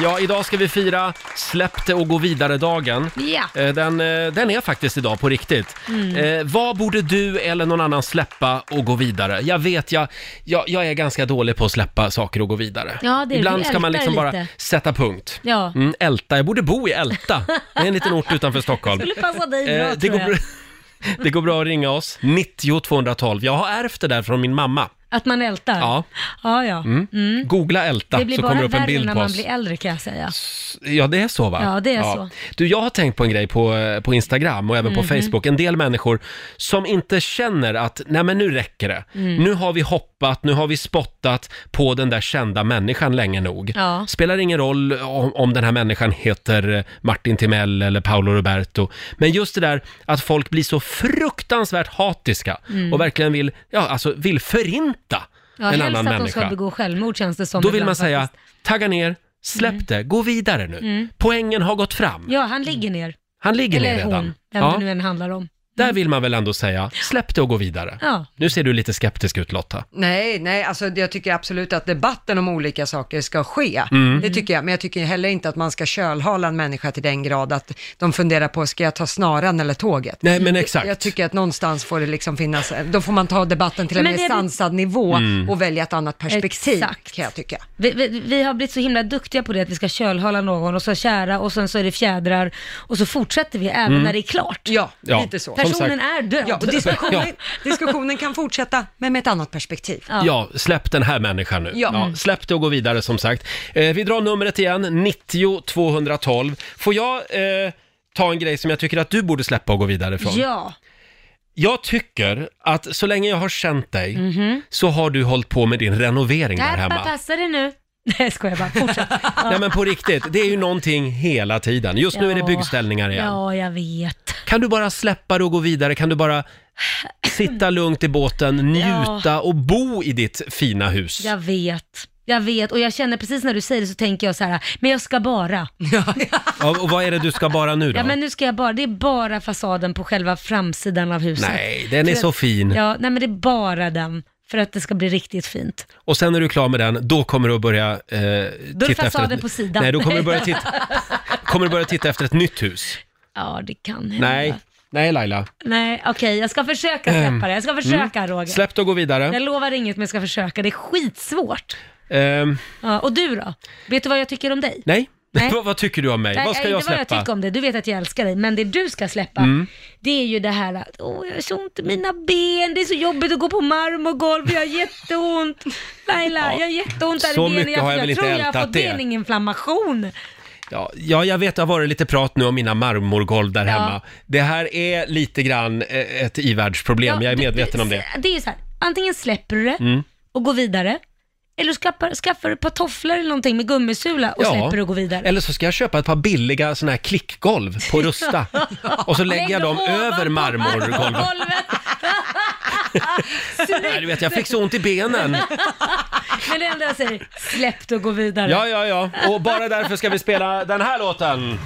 Ja, idag ska vi fira Släpp det och gå vidare-dagen. Ja. Mm. Eh, Den, eh, den är faktiskt idag på riktigt. Eh, vad borde du eller någon annan släppa och gå vidare? Jag vet, jag, jag, jag är ganska dålig på att släppa saker och gå vidare. Ja, det är- Ibland du ska man ältar liksom bara lite. sätta punkt. Ja. Mm, älta, jag borde bo i Älta. Det är en liten ort utanför Stockholm. Skulle passa dig bra, Eh, det, tror går jag. bra, det går bra att ringa oss, 90 212. Jag har ärvt det där från min mamma. Att man ältar? Ja. Ja, ja. Googla älta Det blir så bara kommer upp en värre bild när på man oss. blir äldre kan jag säga. Ja, det är så va? Ja, det är så. Mhm. Du, jag har tänkt på en grej på, eh, på Instagram och även på Facebook. En del människor som inte känner att, nej men nu räcker det. Mm. Nu har vi hoppat, nu har vi spottat på den där kända människan länge nog. Ja. Spelar ingen roll om, om den här människan heter eh, Martin Timell eller Paolo Roberto. Men just det där att folk blir så fruktansvärt hatiska och verkligen vill, ja alltså vill förinta Mm. Ja, en helst annan att människa. de ska begå självmord känns det som. Då vill ibland man säga, faktiskt. Mm. tagga ner, släpp det, gå vidare nu. Poängen har gått fram. Ja, han ligger ner. Han ligger ner Eller redan. hon, vem det nu än handlar om. Där vill man väl ändå säga, släpp det och gå vidare. Ja. Nu ser du lite skeptisk ut Lotta. Nej, nej, alltså jag tycker absolut att debatten om olika saker ska ske. Mm. Det tycker jag, men jag tycker heller inte att man ska kölhala en människa till den grad att de funderar på, ska jag ta snaran eller tåget? Nej men exakt. Jag tycker att någonstans får det liksom finnas, då får man ta debatten till en Men det mer är det- sansad nivå Mm. och välja ett annat perspektiv, Exakt. kan jag tycka. Vi, vi, vi har blivit så himla duktiga på det att vi ska kölhala någon och så kära och sen så är det fjädrar och så fortsätter vi även när det är klart. Ja, Mm. Ja. lite så. Som Personen sagt. är död. Ja, och diskussionen, diskussionen kan fortsätta, men med ett annat perspektiv. Ja. släpp den här människan nu. Ja. Ja. Mm. släpp det och gå vidare som sagt. Eh, vi drar numret igen, 90 212. Får jag eh, ta en grej som jag tycker att du borde släppa och gå vidare ifrån? Ja. Jag tycker att så länge jag har känt dig Mhm. så har du hållit på med din renovering där Där hemma. passa dig nu. Nej, jag skojar bara. Fortsätt. Nej men på riktigt, det är ju någonting hela tiden. Just nu är det Ja. byggställningar igen. Ja, jag vet. Kan du bara släppa det och gå vidare? Kan du bara sitta lugnt i båten, njuta och bo i ditt fina hus? Jag vet. Jag vet och jag känner precis när du säger det så tänker jag så här, men jag ska bara. Ja, och vad är det du ska bara nu då? Ja men nu ska jag bara, det är bara fasaden på själva framsidan av huset. Nej, den är så fin. Ja, nej men det är bara den för att det ska bli riktigt fint. Och sen när du är klar med den, då kommer du att börja eh, då är titta fasaden efter ett... på sidan. Nej, då kommer du börja titta, kommer du börja titta efter ett nytt hus. Ja, det kan hända. Nej, nej Laila. Mm. Nej, okej, jag ska försöka släppa det. Jag ska försöka, Roger. Ehm, Släpp det och gå vidare. Jag lovar inget, men jag ska försöka. Det är skitsvårt. Ehm, Ja, och du då? Vet du vad jag tycker om dig? nej, Nej. vad, vad tycker du om mig? Nej, vad ska inte jag vad jag släppa? Mm. tycker om det. Du vet att jag älskar dig, men det du ska släppa, det är ju det här att åh, jag har så ont i mina ben, det är så jobbigt att gå på marmorgolv, jag har jätteont. Laila, jag har jätteont där så i benen. mycket har jag väl inte tror jag har ältat fått det. beninflammation. Ja, ja, jag vet, det har varit lite prat nu om mina marmorgolv där hemma. Det här är lite grann eh, ett ivärldsproblem, jag är du- medveten du- om det. Mm. Det är ju så här, antingen släpper du det och går vidare, eller skaffar, skaffar du ett par tofflor eller någonting med gummisula och Ja. släpper och går vidare. Eller så ska jag köpa ett par billiga såna här klickgolv på Rusta och så lägger jag dem ovanpå över marmorgolvet. golvet. Nej, du vet, jag fick så ont i benen. Men det enda jag säger, släpp det och gå vidare. Ja, ja, ja. Och bara därför ska vi spela den här låten.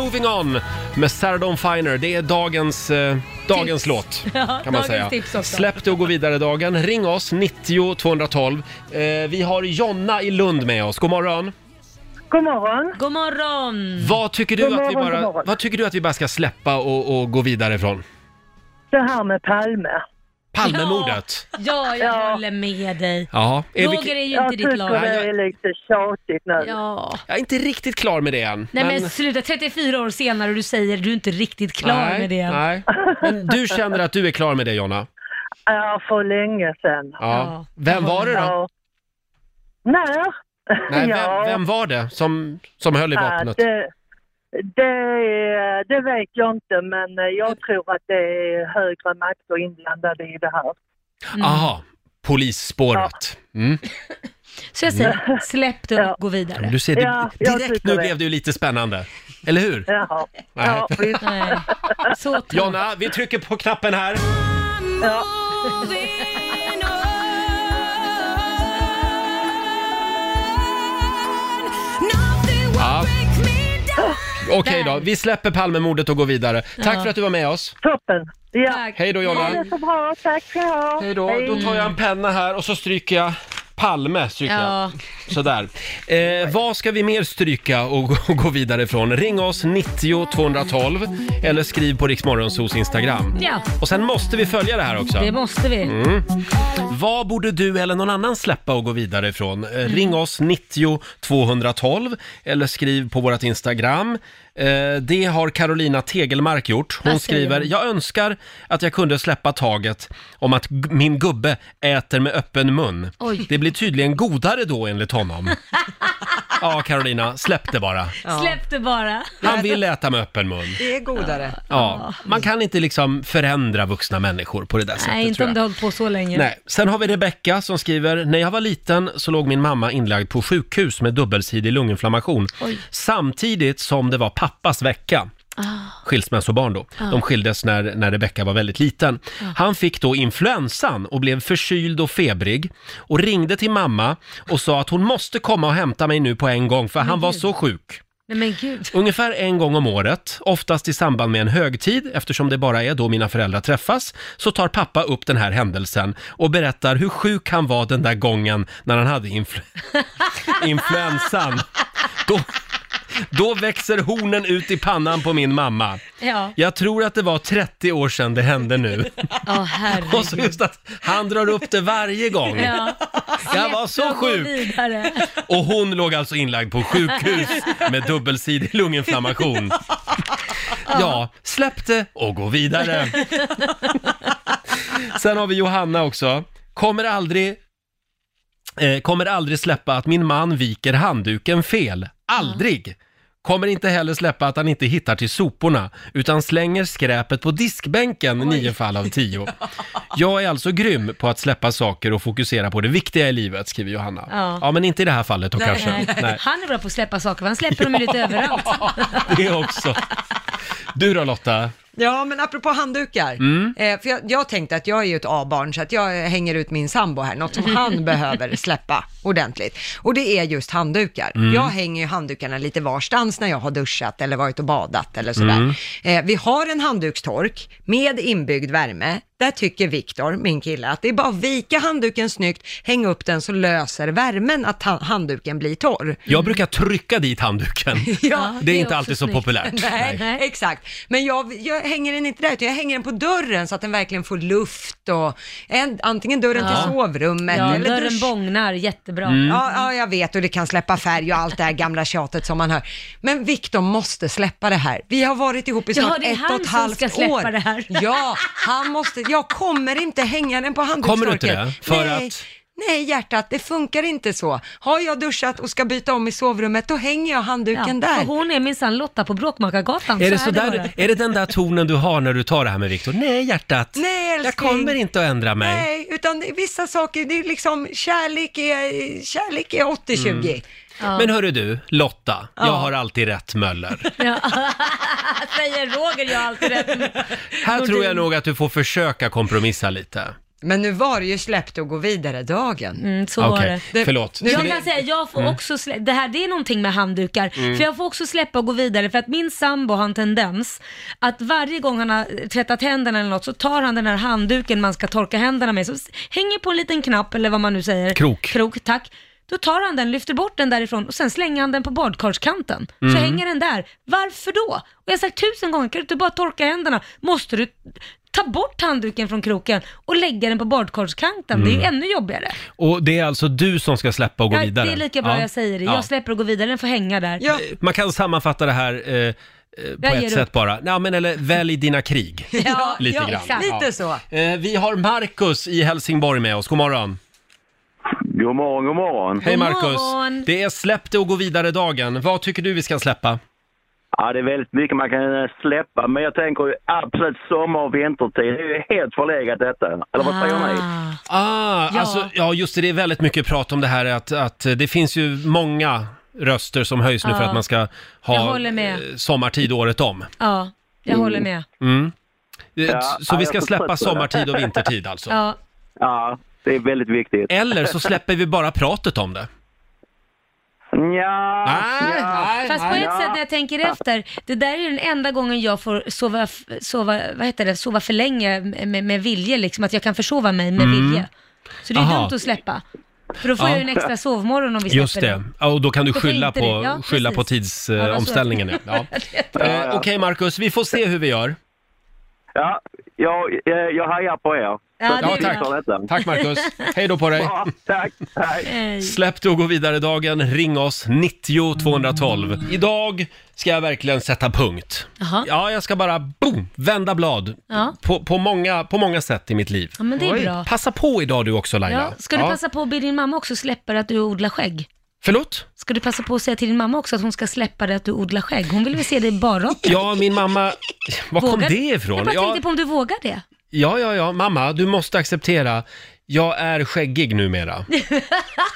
Moving on med Sarah Dawn Finer. Det är dagens, eh, dagens Tips. låt Ja, kan man dagens säga. tips också. Släpp det och gå vidare dagen. Ring oss, 90 212. Eh, vi har Jonna i Lund med oss. God morgon. God morgon. God morgon! Vad tycker du, God att, vi morgon, god bara, morgon. vad tycker du att vi bara ska släppa och, och gå vidare ifrån? Det här med Palme. Palmemordet? Ja, jag Ja. typ. håller med dig. Ja. Är vi, Roger är ju Jag inte ditt tycker lag. det är lite tjatigt nu. Ja. jag är inte riktigt klar med det än. Nej men, sluta, 34 år senare och du säger du är inte riktigt klar nej, med det. Nej. Men du känner att du är klar med det Jonna? Ja, för länge sedan. Ja. Vem var det då? Ja. När? Nej, ja. vem, vem var det som, som höll i Ja, vapnet? det, det, det vet jag inte, men Mm. jag tror att det är högre makter inblandade i det här. Mm. Aha, polisspåret. Mm. Så jag säger, släpp det och gå vidare. Du ser, Ja, det, jag direkt tycker nu det. blev det ju lite spännande. Eller hur? Jaha. Nej. Ja, visst. Nej. Så tråkigt. Jonna, vi trycker på knappen här. Ja. Ja. Okej då, vi släpper Palmemordet och går vidare. Tack för att du var med oss. Toppen. Ja. Hej då Jonna. Ha det så bra. Tack ska ni ha. Hej då. Då tar jag en penna här och så stryker jag Palme. Stryker Ja. jag. Sådär. Eh, vad ska vi mer stryka och, gå- och gå vidare ifrån? Ring oss 90 212 eller skriv på Riksmorgonsos Instagram. Ja. Och sen måste vi följa det här också. Det måste vi. Mm. Vad borde du eller någon annan släppa och gå vidare ifrån? Eh, Mm. Ring oss 90 212 eller skriv på vårt Instagram. Eh, Det har Carolina Tegelmark gjort. Hon Vad säger skriver, hon? jag önskar att jag kunde släppa taget om att g- min gubbe äter med öppen mun. Oj. Det blir tydligen godare då enligt honom. ja, Carolina, släpp det bara. Släpp det bara. Han vill äta med öppen mun. Det är godare. Ja, man kan inte liksom förändra vuxna människor på det där sättet Nej, inte tror jag. om det har hållit på så länge. Nej. Sen har vi Rebecka som skriver, när jag var liten så låg min mamma inlagd på sjukhus med dubbelsidig lunginflammation. Oj. Samtidigt som det var pappas vecka. Ah. Skilsmässobarn då. De skildes när, när Rebecka var väldigt liten. Han fick då influensan och blev förkyld och febrig och ringde till mamma och sa att hon måste komma och hämta mig nu på en gång för han var så sjuk. Nej men gud. Ungefär en gång om året, oftast i samband med en högtid, eftersom det bara är då mina föräldrar träffas, så tar pappa upp den här händelsen och berättar hur sjuk han var den där gången när han hade influ- influensan. Då, då växer hornen ut i pannan på min mamma. Ja. Jag tror att det var 30 år sedan det hände nu. Ja, Och så herregud. just att han drar upp det varje gång. Ja. Jag var så Jag går sjuk! vidare. Och hon låg alltså inlagd på sjukhus med dubbelsidig lunginflammation. Ja, släpp det och gå vidare. Sen har vi Johanna också. Kommer aldrig, eh, kommer aldrig släppa att min man viker handduken fel. Aldrig! Kommer inte heller släppa att han inte hittar till soporna, utan slänger skräpet på diskbänken nio fall av tio. Jag är alltså grym på att släppa saker och fokusera på det viktiga i livet, skriver Johanna. Ja, Ja. men inte i det här fallet då kanske. Nej. Han är bra på att släppa saker, för han släpper dem ju lite överallt. Det också. Du då Lotta? Ja, men apropå handdukar. Eh, för jag, jag tänkte att jag är ju ett A-barn, så att jag eh, hänger ut min sambo här, något som han behöver släppa ordentligt. Och det är just handdukar. Jag hänger ju handdukarna lite varstans när jag har duschat eller varit och badat eller sådär. Eh, vi har en handdukstork med inbyggd värme. Där tycker Viktor, min kille, att det är bara att vika handduken snyggt, häng upp den så löser värmen att ha- handduken blir torr. Jag brukar trycka dit handduken. Ja, Det är är inte också alltid så snyggt. populärt. Nej, Nej. exakt. Men jag, jag hänger den inte där, utan jag hänger den på dörren så att den verkligen får luft och en, antingen dörren till sovrummet Ja, eller dörren dusch. bångnar jättebra. Mm. Ja, ja, jag vet och det kan släppa färg och allt det här gamla tjatet som man hör. Men Viktor måste släppa det här. Vi har varit ihop i Ja, snart det är ett han och ett som halvt ska släppa år. det här. Ja, han måste. Jag kommer inte hänga den på handdukstorken. Kommer du inte det? För Nej. att- Nej, hjärtat, det funkar inte så. Har jag duschat och ska byta om i sovrummet, då hänger jag Ja, handduken där. för hon är minsann Lotta på Bråkmakargatan. Är det, så är sådär, bara. är det den där tonen du har när du tar det här med Viktor? Nej hjärtat, Nej, älskling. jag kommer inte att ändra mig. Nej, utan det är vissa saker, det är liksom kärlek är, kärlek är 80-20. Mm. Men hörru du, Lotta, jag Ja. har alltid rätt möller. Ja. Säger Roger, jag har alltid rätt. Här tror jag nog att du får försöka kompromissa lite. Men nu var det ju släppt och gå vidare-dagen. Mm, så var Okej, det. Det- förlåt. Nu- Så Jag det- Mm. kan säga, jag får också slä- det här det är någonting med handdukar, för jag får också släppa och gå vidare för att min sambo har en tendens att varje gång han har tvättat händerna eller något så tar han den här handduken man ska torka händerna med, så s- hänger på en liten knapp eller vad man nu säger. Krok. Krok, tack. Då tar han den, lyfter bort den därifrån och sen slänger han den på badkarskanten. Mm. Så hänger den där. Varför då? Och jag har sagt tusen gånger, kan du inte bara torka händerna? Måste du ta bort handduken från kroken och lägga den på badkarskanten? Det är Mm. ju ännu jobbigare. Och det är alltså du som ska släppa och gå Nej, vidare? Det är lika bra Ja. jag säger det. Ja. Jag släpper och går vidare, den får hänga där. Ja, Man kan sammanfatta det här eh, eh, på Jag ger ett upp. sätt bara. Nej, men eller välj dina krig. Ja, Lite grann. exakt. Lite så. Eh, vi har Markus i Helsingborg med oss. God morgon. God morgon, god morgon. Hej God Markus. morgon. Det är släpp det och gå vidare-dagen. Vad tycker du vi ska släppa? Ja, det är väldigt mycket man kan eh, släppa, men jag tänker ju absolut sommar och vintertid. Det är ju helt förlegat detta. Eller vad säger ni? Ah. Ah, ja. Ja. Alltså, ja, just det. Det är väldigt mycket prat om det här att, att det finns ju många röster som höjs nu för Ja. att man ska Jag ha håller med. eh, sommartid året om. Ah. Ja, jag Mm. håller med. Eh, Ja, s- så ja, vi jag ska får släppa trötta det. sommartid och vintertid alltså. Ja. Ja, det är väldigt viktigt. Eller så släpper vi bara pratet om det. Ja, Nej, nej, Fast på nej. ett sätt när jag tänker efter, det där är ju den enda gången jag får sova, sova, vad heter det, sova för länge med, med vilje, liksom att jag kan försova mig med vilje. Så det är Mm. Aha. dumt att släppa. För då får Ja. jag ju en extra sovmorgon om vi släpper Just det. Ja, och då kan du Då får skylla inte på, det. Ja, skylla på precis. tidsomställningen. Ja, Eh, vad omställningen, skönt. ja. ja. eh, Okej Marcus, vi får se hur vi gör. ja jag, jag, jag hajar på er. Ja, det Ja, är tack. bra. För detta. Tack Marcus. Hej då på dig. Ja, tack, tack. Eh, Släpp det och gå vidare-dagen. Ring oss, 90 212. Idag ska jag verkligen sätta punkt. Jaha. Ja, jag ska bara boom, vända blad Ja. på, på, många, på många sätt i mitt liv. Ja, men det är bra. Passa på idag du också Laila. Ja. Ska du passa på att be din mamma också släppa det att du odlar skägg? Förlåt? Ska du passa på att säga till din mamma också att hon ska släppa det att du odlar skägg? Hon vill väl se dig bara Ja, min mamma... Var kom Vågar- det Jag ifrån? bara Ja, tänkte på om du vågar det. ja, ja, ja, mamma, du måste acceptera. Jag är skäggig numera,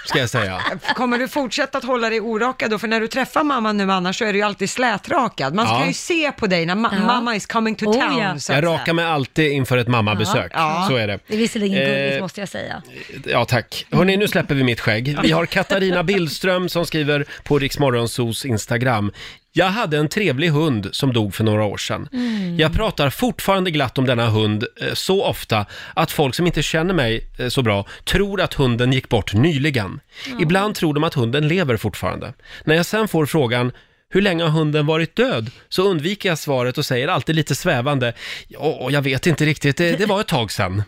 ska jag säga. Kommer du fortsätta att hålla dig orakad då? För när du träffar mamma nu annars så är du ju alltid slätrakad. Man Ja. kan ju se på dig när ma- Ja. mamma is coming to Oh, town. så ja. att Jag säga. rakar mig alltid inför ett mammabesök. Ja. Så är det. Det är visserligen gulligt Eh, måste jag säga. Ja, tack. Hörni, nu släpper vi mitt skägg. Vi har Katarina Billström som skriver på Riksmorgonsos Instagram. Jag hade en trevlig hund som dog för några år sedan. Jag pratar fortfarande glatt om denna hund eh, så ofta att folk som inte känner mig eh, så bra tror att hunden gick bort nyligen. Ibland tror de att hunden lever fortfarande. När jag sen får frågan hur länge har hunden varit död? Så undviker jag svaret och säger alltid lite svävande, ja, jag vet inte riktigt, det, det var ett tag sedan.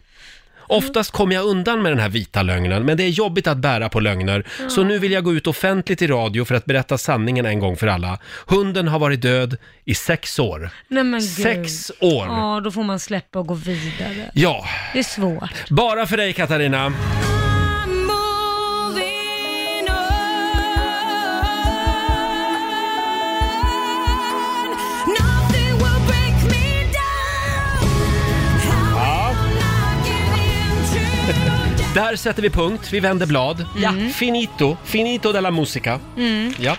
Oftast kommer jag undan med den här vita lögnen, men det är jobbigt att bära på lögner. Så nu vill jag gå ut offentligt i radio för att berätta sanningen en gång för alla. Hunden har varit död i sex år. Nej, men gud. Sex år! Ja, då får man släppa och gå vidare. Ja, Det är svårt. bara för dig Katarina. Där sätter vi punkt, vi vänder blad. Mm. Finito, finito della musica. Ja.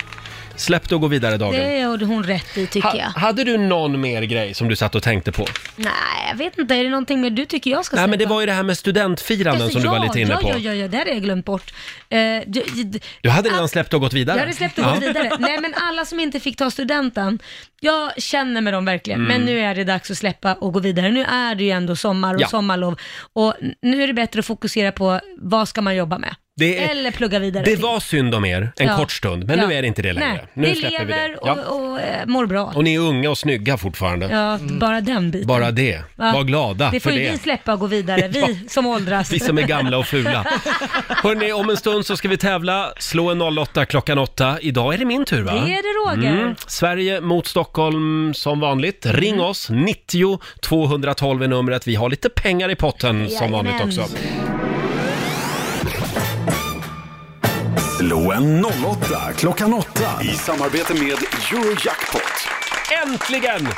Släpp det och gå vidare dagen. Det gjorde hon rätt i tycker Ha, jag. hade du någon mer grej som du satt och tänkte på? Nej, jag vet inte. Är det någonting mer du tycker jag ska Nej, släppa? men det var ju det här med studentfiranden Alltså, som du var ja, lite inne ja, på. Ja, ja, ja, det hade jag glömt bort. Eh, du, j- Du hade redan släppt och gått vidare. jag hade släppt och Ja. gått vidare. Nej, men alla som inte fick ta studenten, jag känner med dem verkligen. Mm. Men nu är det dags att släppa och gå vidare. Nu är det ju ändå sommar och Ja. sommarlov och n- nu är det bättre att fokusera på vad ska man jobba med? Det är- Eller plugga vidare. Det till. var synd om er en Ja. kort stund, men Ja. nu är det inte det längre. Nej, nu ni släpper vi lever det. Ja. och, och eh, mår bra. Och ni är unga och snygga fortfarande. ja, Mm. bara den biten. Bara det. Ja. Var glada det för får ju det. vi släppa och gå vidare, vi som åldras. Vi som är gamla och fula. Hörni, om en stund så ska vi tävla. Slå en 08 klockan 8. Idag är det min tur va? Det är det Roger. Mm. Sverige mot Stockholm som vanligt. Ring oss, 90 212 är numret. Vi har lite pengar i potten som vanligt Jajamän. också. Slå en 08 klockan 8 i samarbete med Eurojackpot. Äntligen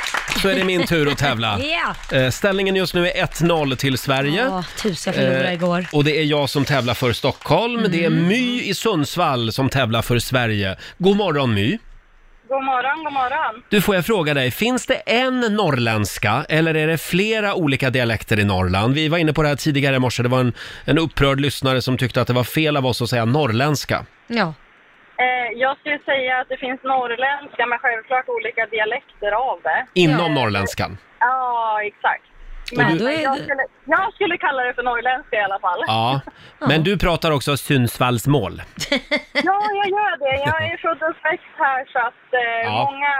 så är det min tur att tävla. Ja. Eh, Ställningen just nu är 1-0 till Sverige. Ja, tusen jag förlorade Eh, igår. Mm. Och det är jag som tävlar för Stockholm. Det är My i Sundsvall som tävlar för Sverige. God morgon My. God morgon, god morgon. Du får jag fråga dig, finns det en norrländska eller är det flera olika dialekter i Norrland? Vi var inne på det här tidigare i morse, det var en, en upprörd lyssnare som tyckte att det var fel av oss att säga norrländska. Ja. Eh, jag skulle säga att det finns norrländska, men självklart olika dialekter av det. Inom Ja. norrländskan. Ja, exakt. Men då är jag, det- skulle, jag skulle kalla det för norrländska i alla fall. Ja. Men du pratar också Sundsvallsmål. Ja, jag gör det. Jag är född och uppväxt här så att eh, Ja. många,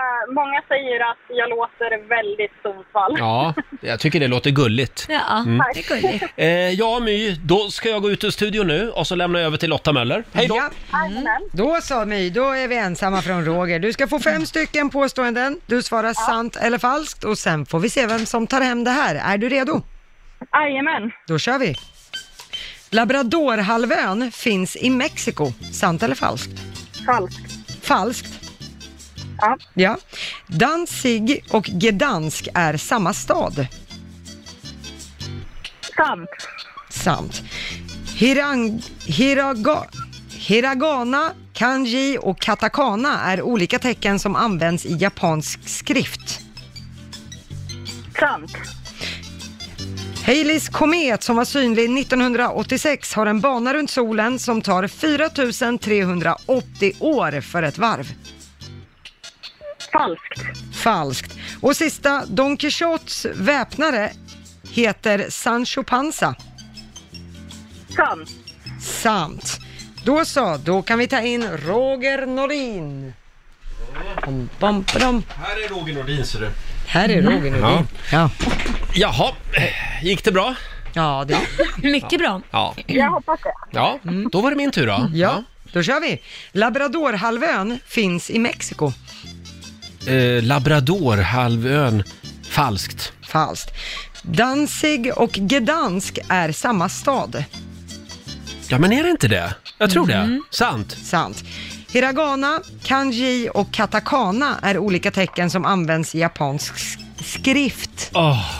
många säger att jag låter väldigt Sundsvall. Ja, jag tycker det låter gulligt. Ja, Mm. det är gulligt. Eh, ja, My, då ska jag gå ut ur studion nu och så lämnar jag över till Lotta Möller. Hej då! Ja. Då sa My, då är vi ensamma från Roger. Du ska få Mm. fem stycken påståenden. Du svarar sant eller falskt och sen får vi se vem som tar hem det här. Är du redo? Jajamän. Då kör vi. Labradorhalvön finns i Mexiko. Sant eller falskt? Falskt. Falskt. Ja. Ja. Danzig och Gdansk är samma stad. Sant. Sant. Hirang, hiraga, hiragana, kanji och katakana är olika tecken som används i japansk skrift. Sant. Haleys komet som var synlig 1986 har en bana runt solen som tar 4380 år för ett varv. Falskt. Falskt. Och sista, Don Quixotes väpnare heter Sancho Panza. Sant. Sant. Då så, då kan vi ta in Roger Norin. Bom, bom, bom. Här är Roger Nordin, ser du. Här är Roger Norin. Ja. Ja. Jaha, gick det bra? Ja, det... Mm. Mycket bra. Ja, Jag hoppas det. ja. mm, då var det min tur då. ja, då kör vi. Labradorhalvön finns i Mexiko. Eh, Labradorhalvön, falskt. Falskt. Danzig och Gdansk är samma stad. Ja, men är det inte det? Jag tror Mm. det. Sant. Sant. Hiragana, kanji och katakana är olika tecken som används i japansk s- skrift. Åh.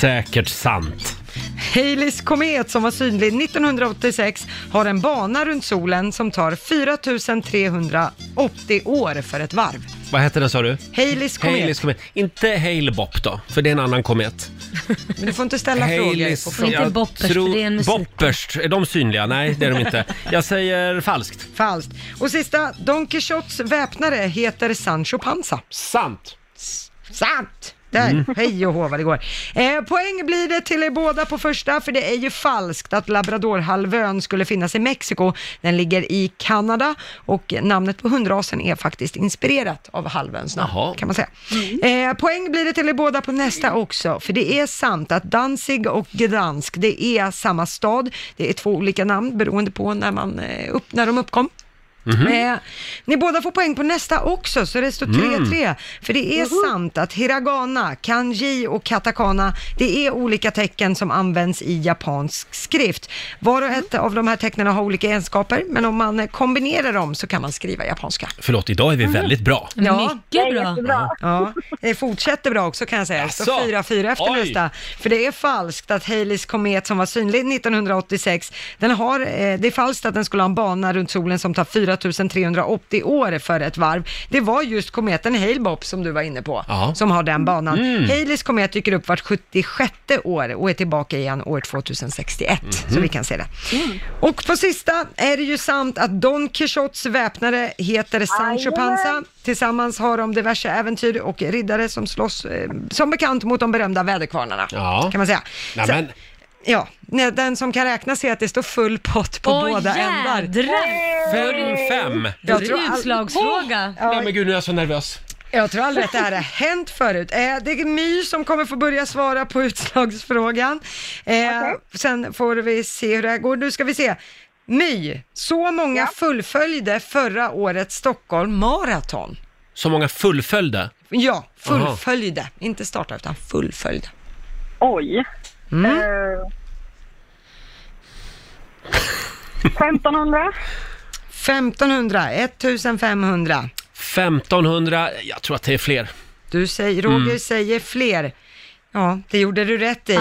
Säkert sant. Haleys komet som var synlig 1986 har en bana runt solen som tar 4380 år för ett varv. Vad hette den sa du? Haleys komet. Haleys komet. Inte Hale Bopp då, för det är en annan komet. Men du får inte ställa frågor. Haleys... På Inte jag Boppers, för det är en musik. Boppers, är de synliga? Nej, det är de inte. Jag säger falskt. Falskt. Och sista, Don Quixotes väpnare heter Sancho Panza. Sant. Sant! Där, hej och hå vad det går. Eh, poäng blir det till er båda på första, för det är ju falskt att labradorhalvön skulle finnas i Mexiko. Den ligger i Kanada och namnet på hundrasen är faktiskt inspirerat av halvöns namn, Jaha. kan man säga. Eh, poäng blir det till er båda på nästa också, för det är sant att Danzig och Gdansk, det är samma stad. Det är två olika namn beroende på när, man, eh, upp, när de uppkom. Eh, ni båda får poäng på nästa också, så det står 3-3. För det är sant att hiragana, kanji och katakana, det är olika tecken som används i japansk skrift. Var och ett av de här tecknen har olika egenskaper, men om man eh, kombinerar dem så kan man skriva japanska. Förlåt, idag är vi väldigt bra. Ja. Mycket bra. Jättebra. Ja, det fortsätter bra också kan jag säga. Så Jaså? 4-4 efter Oj. nästa. För det är falskt att Haleys komet som var synlig 1986, den har, eh, det är falskt att den skulle ha en bana runt solen som tar 4380 år för ett varv. Det var just kometen Hale-Bopp som du var inne på, Ja. som har den banan. Haleys komet dyker upp vart 76 år och är tillbaka igen år 2061, så vi kan se det. Mm. Och på sista är det ju sant att Don Quixotes väpnare heter Sancho Panza. Tillsammans har de diverse äventyr och riddare som slåss, eh, som bekant, mot de berömda väderkvarnarna. Ja. Kan man säga. Nej, Så- men- Ja, nej, den som kan räkna ser att det står full pott på Åh båda ändar. jädrar! Fem, fem. Det Jag är tror en all- utslagsfråga. Nej men gud, nu är jag så nervös. Jag tror aldrig att det här har hänt förut. Eh, det är My som kommer få börja svara på utslagsfrågan. Eh, Sen får vi se hur det här går. Nu ska vi se. My, så många fullföljde förra årets Stockholm Marathon. Så många fullföljde. Ja, fullföljde. Inte starta, utan fullföljde. Oj. Eh, 1500. 1500, 1500. 1500, jag tror att det är fler. Du säger, Roger Mm. säger fler. Ja, det gjorde du rätt Ah. i.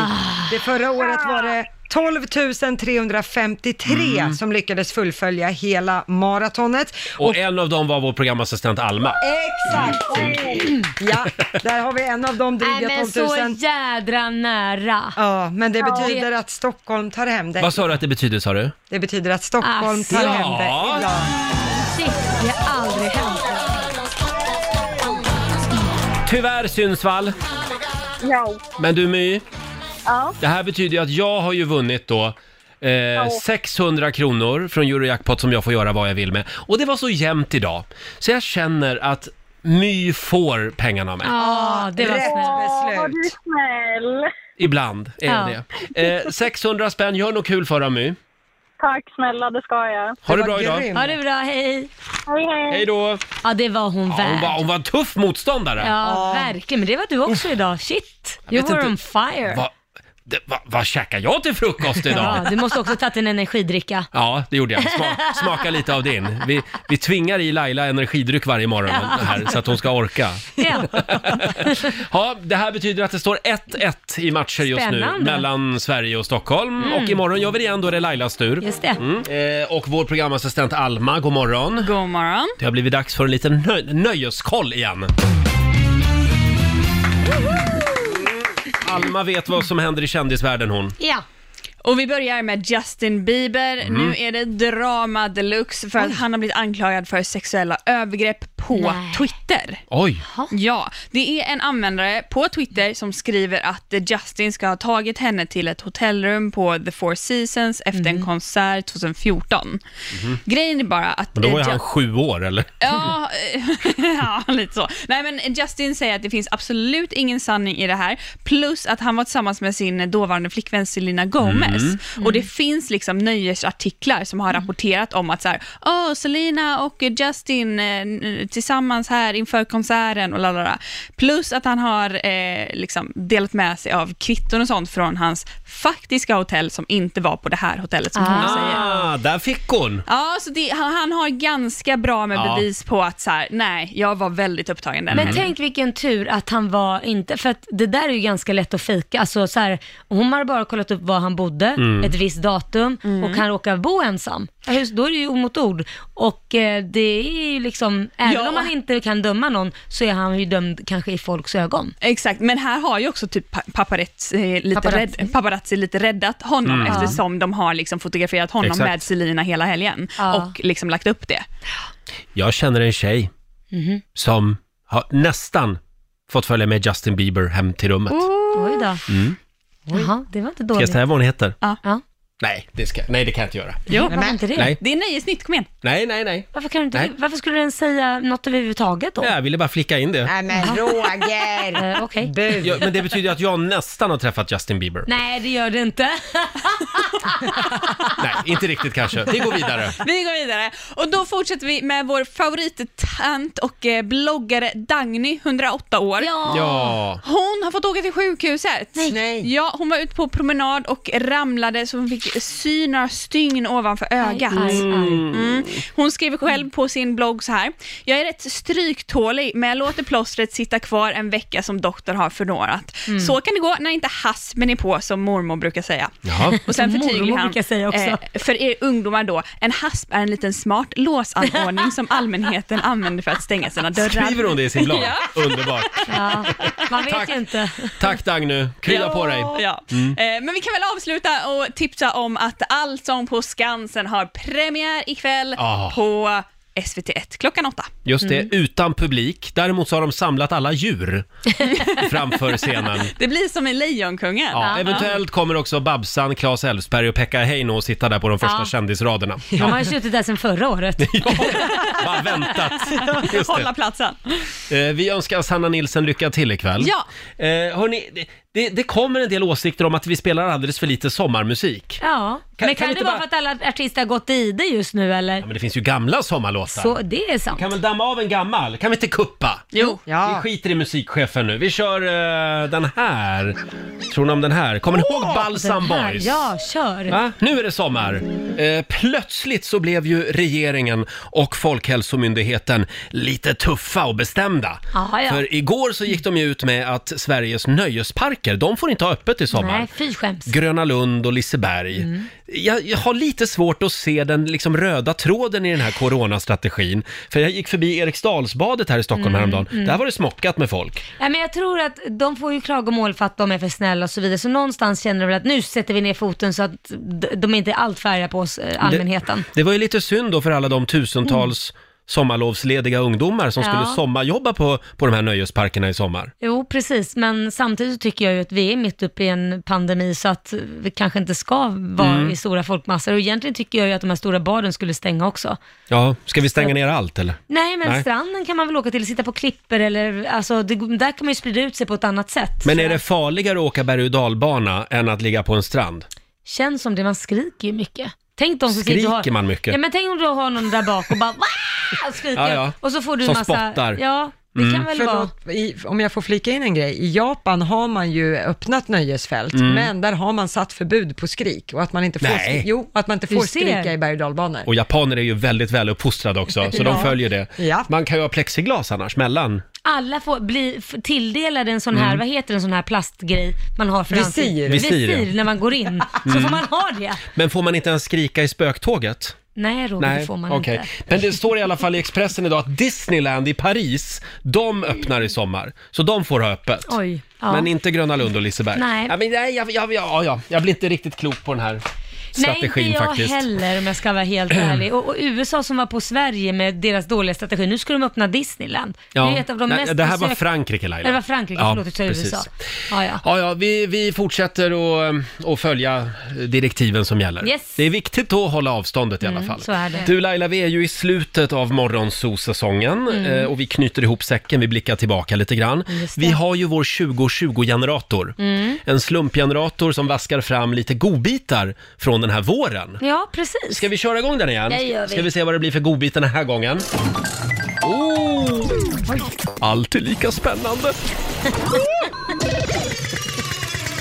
Det förra året var det 12 353 Mm. som lyckades fullfölja hela maratonet. Och, en av dem var vår programassistent Alma. Exakt! Ja, där har vi en av de Nej dryga 12 men så 000. jädra nära. Ja, men det betyder att Stockholm tar hem det. Vad sa du att det betyder sa du? Det betyder att Stockholm tar Ja. hem det. Ja. Shit, det har aldrig hänt. Tyvärr Synsvall, Ja. men du My. Ja. Det här betyder ju att jag har ju vunnit då Eh, 600 kronor från Eurojackpot som jag får göra vad jag vill med. Och det var så jämnt idag, så jag känner att My får pengarna av mig. Ja, Ah, det var Rätt snällt. Vad du är beslut. snäll. Ibland är Ja. det. Eh, 600 spänn, gör något kul för dig My. Tack snälla, det ska jag. Ha det, var bra idag. grym. Ha det bra, hej. Hej, hej. Hej då! Ja, det var hon Ja, hon, värd. var, hon var en tuff motståndare. Ah. Ja, verkligen. Men det var du också idag. Shit, you vet were inte. on fire. Va, det, va, vad käkar jag till frukost Ja, idag? du måste också tagit en energidricka. Ja, det gjorde jag. Sma, smaka lite av din. Vi, vi tvingar i Laila energidryck varje morgon här, så att hon ska orka. Ja. Ja, det här betyder att det står 1-1 i matcher just nu Spännande. Mm. mellan Sverige och Stockholm. Och imorgon gör vi det igen, då är det Lailas tur. Just det. Mm. Eh, och vår programassistent Alma, god morgon. God morgon. Det har blivit dags för en liten nö- nöjeskoll igen. Alma vet vad som händer i kändisvärlden hon. Ja. Och vi börjar med Justin Bieber. Mhm. Nu är det drama deluxe för att han har blivit anklagad för sexuella övergrepp på Nej. Twitter. Oj! Ja, det är en användare på Twitter som skriver att Justin ska ha tagit henne till ett hotellrum på The Four Seasons efter Mhm. en konsert 2014. Grejen är bara att... Men då var ju eh, han Ju- sju år eller? Ja, eh, ja, lite så. Nej, men Justin säger att det finns absolut ingen sanning i det här, plus att han var tillsammans med sin dåvarande flickvän Selena Gomez. Och det finns liksom nöjesartiklar som har rapporterat om att så här, "Åh, Selena och Justin eh, tillsammans här inför konserten och lalala. Plus att han har eh, liksom delat med sig av kvitton och sånt från hans faktiska hotell som inte var på det här hotellet som hon säger. Ah, där fick hon! Ja, så det, han, han har ganska bra med Ja. Mm. bevis på att så här, nej, jag var väldigt upptagen den Men helgen. tänk vilken tur att han var inte, för att det där är ju ganska lätt att fejka. Alltså så här, hon har bara kollat upp var han bodde, Mm. ett visst datum och han råkar bo ensam. Ja, just Då är det ju mot ord. Och eh, det är ju liksom, även Ja. om man inte kan döma någon så är han ju dömd kanske i folks ögon. Exakt, men här har ju också typ pa- paparazzi, eh, lite, Paparazzi. Rädd, paparazzi lite räddat honom eftersom de har liksom fotograferat honom Mm. Exakt. med Selina hela helgen Ja. och liksom lagt upp det. Jag känner en tjej som har nästan fått följa med Justin Bieber hem till rummet. Oj då. Jaha, det var inte Mm. Ska jag dåligt. säga vad hon heter? Ja. Nej, det ska, nej, det kan jag inte göra. Jo, Varför inte det? Nej. det är nöjesnytt, kom igen. Nej, nej, nej. Varför, kan du inte, Nej. varför skulle den säga något överhuvudtaget då? Jag ville bara flicka in det. Nej men Roger! Eh, Okej. Bu! Ja, men det betyder ju att jag nästan har träffat Justin Bieber. Nej, det gör det inte. Nej, inte riktigt kanske. Vi går vidare. Vi går vidare. Och då fortsätter vi med vår favorittant och eh, bloggare Dagny, 108 år. Ja. Hon har fått åka till sjukhuset. Nej. Ja, hon var ute på promenad och ramlade så hon fick sy några stygn ovanför ögat. Aj, aj. Mm. Hon skriver själv på sin blogg så här. Jag är rätt stryktålig, men jag låter plåstret sitta kvar en vecka som doktorn har förnårat. Mm. Så kan det gå när inte haspen är på, som mormor brukar säga. Jaha. Och sen Som förtydligar mormor han, eh, brukar säga också. för er ungdomar då, en hasp är en liten smart låsanordning som allmänheten använder för att stänga sina dörrar. Skriver hon det i sin blogg? Underbart. Ja, man vet Tack. ju inte. Tack Dagny, krya på dig. Ja. Mm. Eh, Men vi kan väl avsluta och tipsa om att Allsång på Skansen har premiär ikväll Ah. på SVT1 klockan åtta. Just det, utan publik. Däremot så har de samlat alla djur framför scenen. Det blir som i Lejonkungen. Ja, eventuellt kommer också Babsan, Claes Elfsberg och Pekka Heino att sitta där på de första Ja. kändisraderna. De har ju suttit där sedan förra året. Ja, bara väntat. Just Hålla platsen. det. Eh, Vi önskar Sanna Nilsson lycka till ikväll. Ja. Eh, hörni, det- det, det kommer en del åsikter om att vi spelar alldeles för lite sommarmusik. Ja, Kan- kan men kan, vi inte det vara bara- för att alla artister har gått i det just nu Ja, eller? men det finns ju gamla sommarlåtar. Så det är sant. Kan väl damma av en gammal? Kan vi inte kuppa? Jo. Vi Ja, skiter i musikchefen nu. Vi kör eh, den här. Tror ni om den här? Kommer ni ihåg Balsam Den här- Boys? Ja, kör. Va? Nu är det sommar. Eh, plötsligt så blev ju regeringen och Folkhälsomyndigheten lite tuffa och bestämda. Ja, ja. För igår så gick de ju ut med att Sveriges nöjesparker, de får inte ha öppet i sommar. Nej, fy skäms. Mm. Gröna Lund och Liseberg. Jag, jag har lite svårt att se den liksom röda tråden i den här coronastrategin. För jag gick förbi Eriksdalsbadet här i Mm, Stockholm häromdagen. Där var det smockat med folk. Nej, men jag tror att de får ju klagomål för att de är för snälla och så vidare. Så någonstans känner de väl att nu sätter vi ner foten så att d- de inte är allt för arga på oss, eh, allmänheten. Det var ju lite synd då för alla de tusentals sommarlovslediga ungdomar som Ja. skulle sommarjobba på, på de här nöjesparkerna i sommar. Jo, precis, men samtidigt så tycker jag ju att vi är mitt uppe i en pandemi så att vi kanske inte ska vara Mm. i stora folkmassor och egentligen tycker jag ju att de här stora baren skulle stänga också. Ja, ska vi stänga ner allt eller? Nej, men stranden kan man väl åka till, sitta på klippor eller alltså, det, där kan man ju sprida ut sig på ett annat sätt. Men är det farligare att åka berg och dalbana än att ligga på en strand? Känns som det, man skriker ju mycket. Tänk de som sitter och Skriker har... man mycket? Ja, men tänk om du har någon där bak och bara "Wah!" och skriker. Ja, ja. Och så får du Som massa... spottar. Ja, det kan Mm. väl vara... Förlåt, i, om jag får flika in en grej. I Japan har man ju öppnat nöjesfält, Mm. men där har man satt förbud på skrik och att man inte får, Nej. skri- jo, att man inte Du får ser. skrika i berg och dalbanor. Och japaner är ju väldigt väluppfostrade också, så de Ja. följer det. Ja. Man kan ju ha plexiglas annars, mellan. Alla får bli f- tilldelade en sån här, Mm. vad heter en sån här plastgrej man har för Visir. ansikt? Visir, ja. Visir, när man går in. Så Mm. får man ha det. Men får man inte ens skrika i spöktåget? Nej, Roger, det får man okej. inte. Men det står i alla fall i Expressen idag att Disneyland i Paris, de öppnar i sommar. Så de får ha öppet. Oj, ja. Men inte Gröna Lund och Liseberg. Nej. Ja, men nej, jag, jag, ja, ja, jag blir inte riktigt klok på den här strategin Nej, inte jag faktiskt. heller om jag ska vara helt ärlig. Och, och USA som var på Sverige med deras dåliga strategi, nu ska de öppna Disneyland. Ja. Det är ett av de Nej, mest det här var besökta- Frankrike, Laila. Ja, Det var Frankrike, Ja, förlåt, jag sa precis. USA. Ja, ja. Ja, ja, vi, vi fortsätter att, att följa direktiven som gäller. Yes. Det är viktigt att hålla avståndet i alla Mm, fall. så är det. Du Laila, vi är ju i slutet av morgonsosäsongen Mm. eh, och vi knyter ihop säcken, vi blickar tillbaka lite grann. Just det. Vi har ju vår 2020-generator. Mm. En slumpgenerator som vaskar fram lite godbitar från den här våren. Ja, precis. Ska vi köra igång den igen? Det gör vi. Ska vi se vad det blir för godbitar den här gången. Oh. Alltid lika spännande.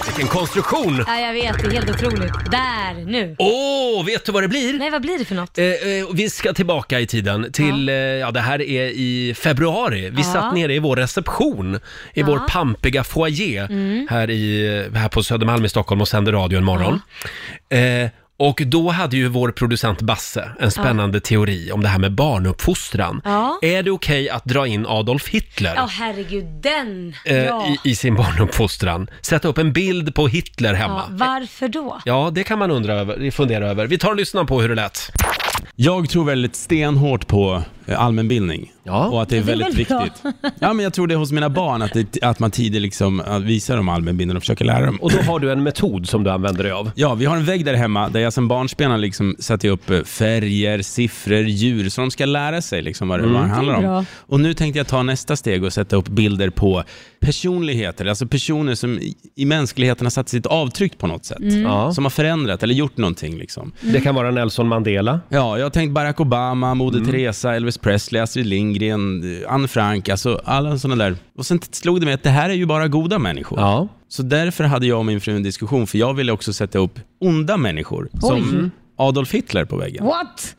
Vilken konstruktion! Ja, jag vet, det är helt otroligt. Där, nu. Åh, vet du vad det blir? Nej, vad blir det för något? Eh, eh, vi ska tillbaka i tiden till, ja. Eh, ja det här är i februari. Vi Ja. satt nere i vår reception, i vår pampiga foyer Mm. här, i, här på Södermalm i Stockholm och sände radio en morgon. Eh, och då hade ju vår producent Basse en spännande teori om det här med barnuppfostran. Ja. Är det okej att dra in Adolf Hitler? Ja, herregud, den. eh, ja. I, I sin barnuppfostran. Sätta upp en bild på Hitler hemma. ja. Varför då? Ja, det kan man undra över, fundera över. Vi tar och lyssnar på hur det lät. Jag tror väldigt stenhårt på eh, allmänbildning och att det är väldigt viktigt. Ja, men jag tror det hos mina barn, att, det, att man tidigt liksom eh, visar dem allmänbildning och försöker lära dem. Och då har du en metod som du använder dig av? Ja, vi har en vägg där hemma där jag som barnsben har liksom satt upp eh, färger, siffror, djur, så de ska lära sig liksom vad det Mm. vad det Det är handlar bra. om. Och nu tänkte jag ta nästa steg och sätta upp bilder på personligheter, alltså personer som i- i mänskligheten har satt sitt avtryck på något sätt. Mm. Ja. Som har förändrat eller gjort någonting. Liksom. Det kan vara Nelson Mandela. Ja, jag har tänkt Barack Obama, Moder Teresa, Elvis Presley, Astrid Lindgren, eh, Anne Frank, alltså alla sådana där. Och sen slog det mig att det här är ju bara goda människor. Så därför hade jag och min fru en diskussion, för jag ville också sätta upp onda människor. Oj. Som Adolf Hitler på väggen. What?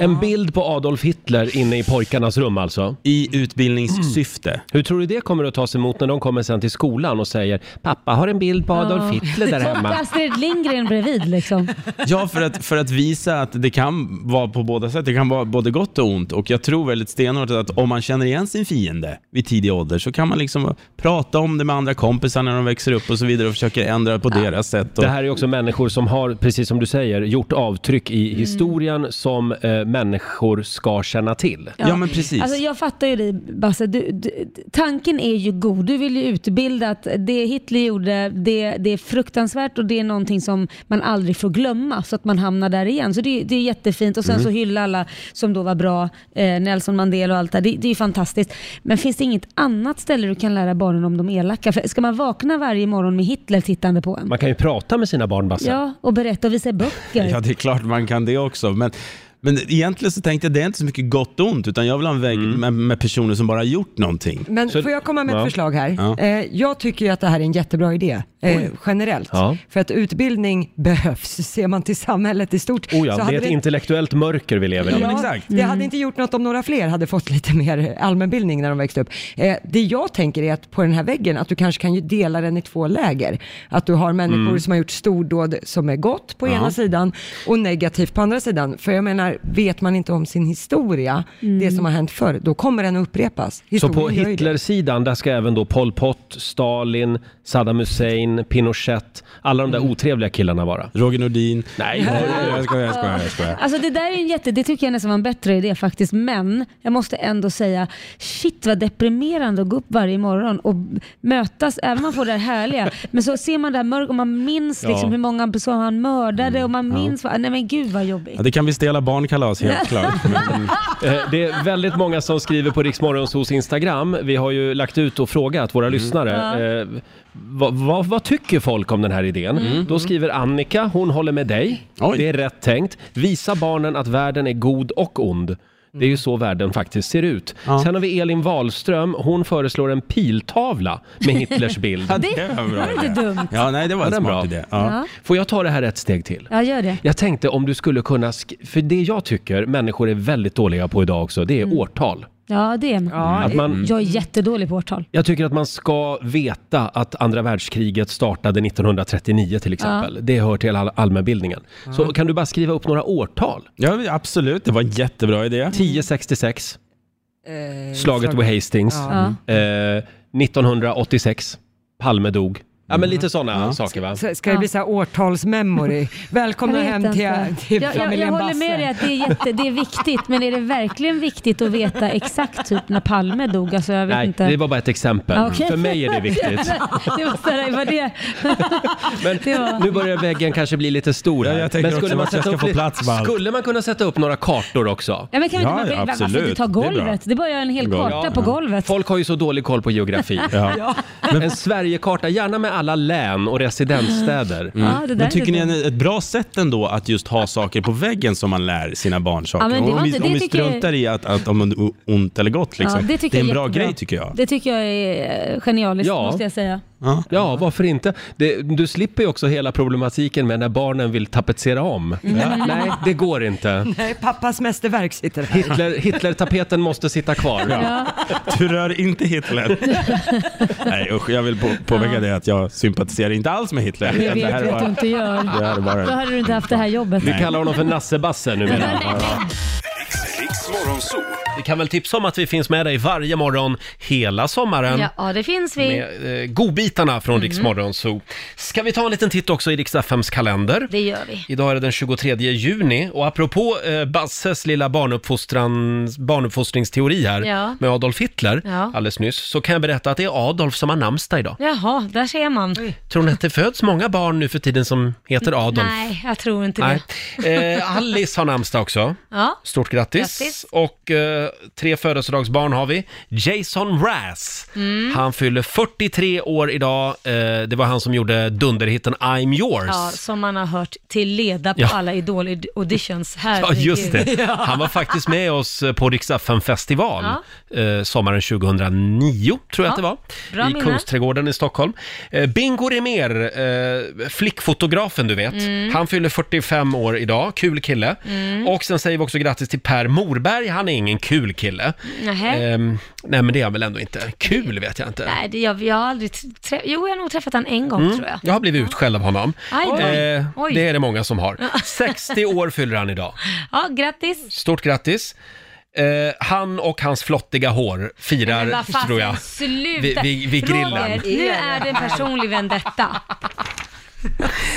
En bild på Adolf Hitler inne i pojkarnas rum alltså? I utbildningssyfte. Hur tror du det kommer att tas emot när de kommer sen till skolan och säger “Pappa har en bild på Adolf Hitler där hemma”? Astrid Lindgren bredvid liksom. Ja, för att, för att visa att det kan vara på båda sätt. Det kan vara både gott och ont. Och jag tror väldigt stenhårt att om man känner igen sin fiende vid tidig ålder så kan man liksom prata om det med andra kompisar när de växer upp och så vidare och försöka ändra på deras sätt. Och... Det här är också människor som har, precis som du säger, gjort avtryck i historien som eh, människor ska känna till. Alltså, jag fattar ju dig Basse. Du, du, tanken är ju god. Du vill ju utbilda att det Hitler gjorde, det, det är fruktansvärt och det är någonting som man aldrig får glömma så att man hamnar där igen. Så det, det är jättefint. Och sen Mm. så hylla alla som då var bra, eh, Nelson Mandela och allt det där. Det, det är ju fantastiskt. Men finns det inget annat ställe du kan lära barnen om de elaka? För ska man vakna varje morgon med Hitler tittande på en? Man kan ju prata med sina barn, Basse. Ja, och berätta och visa böcker. Ja, det är klart man kan det också. Men, men egentligen så tänkte jag det är inte så mycket gott och ont, utan jag vill ha en vägg Mm. med, med personer som bara har gjort någonting. Men får jag komma med ett Ja. förslag här? Ja. Eh, jag tycker ju att det här är en jättebra idé, eh, Oj. generellt. Ja. För att utbildning behövs. Ser man till samhället i stort Oh ja, det är ett vi- intellektuellt mörker vi lever i. Ja, Det Mm. hade inte gjort något om några fler hade fått lite mer allmänbildning när de växte upp. Eh, det jag tänker är att på den här väggen, att du kanske kan ju dela den i två läger. Att du har människor Mm. som har gjort stordåd som är gott på Ja. ena sidan och negativt på andra sidan. För jag menar, menar, vet man inte om sin historia, Mm. det som har hänt förr, då kommer den att upprepas. Så på Historien gör ju det. Hitlersidan, där ska även då Pol Pot, Stalin, Saddam Hussein, Pinochet, alla Mm. de där otrevliga killarna vara. Roger Nordin. Nej, jag skojar, jag skojar, jag skojar. Alltså det där är en jätte, det tycker jag nästan var en bättre idé faktiskt, men jag måste ändå säga shit vad deprimerande att gå upp varje morgon och b- mötas, även om man får det här härliga, men så ser man det här mörka och man minns Ja. liksom hur många personer han mördade och man Ja. minns, vad, nej men gud vad jobbigt. Ja, det kan bli stela barnkalas helt klart. Eh, Det är väldigt många som skriver på Riksmorgonsos Instagram. Vi har ju lagt ut och frågat Mm. våra lyssnare. Eh, vad, vad, vad tycker folk om den här idén? Mm. Då skriver Annika, hon håller med dig. Det är rätt tänkt. Visa barnen att världen är god och ond. Det är ju så världen faktiskt ser ut. Sen har vi Elin Wahlström, hon föreslår en piltavla med Hitlers bild. Ja, det Det var bra var idé. inte dumt. Ja, nej, det var en den är smart bra. idé. Ja. Får jag ta det här ett steg till? Ja, gör det. Jag tänkte om du skulle kunna, sk- för det jag tycker människor är väldigt dåliga på idag också, det är årtal. Ja, det är man. Att man- Jag är jättedålig på årtal. Jag tycker att man ska veta att andra världskriget startade 1939 till exempel. Ja. Det hör till all- allmänbildningen. Så kan du bara skriva upp några årtal? Ja, absolut. Det var en jättebra idé. 1066, Eh, slaget vid Hastings. Ja. Eh, 1986, Palme dog. Ja, men lite sådana saker va? Så ska det bli så här årtalsmemory? Välkomna Jag vet hem till, inte. till jag, jag, jag familjen håller Basse. med dig att det är, jätte, det är viktigt, men är det verkligen viktigt att veta exakt typ när Palme dog? Alltså, jag vet Nej, inte. det var bara ett exempel. Ah, okej. För mig är det viktigt. det var, så här, var det... Men Det var- nu börjar väggen kanske bli lite stor här. jag tänker men också att jag sätta ska upp få li- plats med allt. Skulle man kunna sätta upp några kartor också? Ja, men kan vi inte bara, varför inte ta golvet? Det, är bara en hel karta på golvet. Folk har ju så dålig koll på geografi. Ja. En Sverigekarta, gärna med alla län och residensstäder. Mm. Ja, det där är Men tycker ni dumt. är ett bra sätt ändå att just ha saker på väggen som man lär sina barn saker? Ja, men det var om vi, inte- det om vi tycker jag- struntar i att, att om det är ont eller gott liksom. Ja, det, det tycker är en jag är bra jättebra. grej tycker jag. Det tycker jag är eh, genialiskt Ja. måste jag säga. Ja. varför inte? Det, du slipper ju också hela problematiken med när barnen vill tapetsera om. Mm. Nej, det går inte. Nej, pappas mästerverk sitter här. Hitler, Hitler-tapeten måste sitta kvar. Ja. Du rör inte Hitler. Nej usch, jag vill på, påpeka det att jag sympatiserar inte alls med Hitler. Det vet här vi var- att du inte gör. Det här är bara- Då hade du inte haft det här jobbet. Vi kallar honom för Nassebasse numera. Riksmorgonzoo. Vi kan väl tipsa om att vi finns med dig varje morgon hela sommaren. Ja, ja, det finns vi. Med eh, godbitarna från Mhm. mm. Riksmorgon Zoo. Ska vi ta en liten titt också i Riks-FMs kalender? Det gör vi. Idag är det den 23 juni och apropå eh, Basses lilla barnuppfostrans, barnuppfostringsteori här Ja. med Adolf Hitler Ja. alldeles nyss så kan jag berätta att det är Adolf som har namnsdag idag. Jaha, där ser man. Tror ni att det föds många barn nu för tiden som heter Adolf? Nej, jag tror inte det. Nej. Eh, Alice har namnsdag också. Ja. Stort grattis. Grattis. Och eh, tre födelsedagsbarn har vi. Jason Mraz. Mm. Han fyller 43 år idag. Eh, det var han som gjorde dunderhitten I'm yours. Ja, som man har hört till leda på Ja. alla Idol-auditions. Ja, Herregud. just det. Han var faktiskt med oss eh, på Riksdagen festival eh, sommaren 2009, tror jag Ja. att det var. Bra I minne. Kungsträdgården i Stockholm. Eh, Bingo Rimér, eh, flickfotografen du vet, Mm. han fyller 45 år idag, kul kille. Mm. Och sen säger vi också grattis till Per Morberg, han är ingen kul kille. Nähä. Ehm, nej men det är han väl ändå inte. Kul vet jag inte. Nej, det, jag, jag har aldrig träffat... Jo, jag har nog träffat han en gång, Mm, tror jag. jag har blivit utskälld av honom. Aj då. Eh, Oj. det är det många som har. 60 år fyller han idag. Ja, grattis. Stort grattis. Eh, han och hans flottiga hår firar, Men vad fasen, tror jag. Äh, Vi, Sluta. vi, vi grillar. Roger, nu är det en personlig vendetta.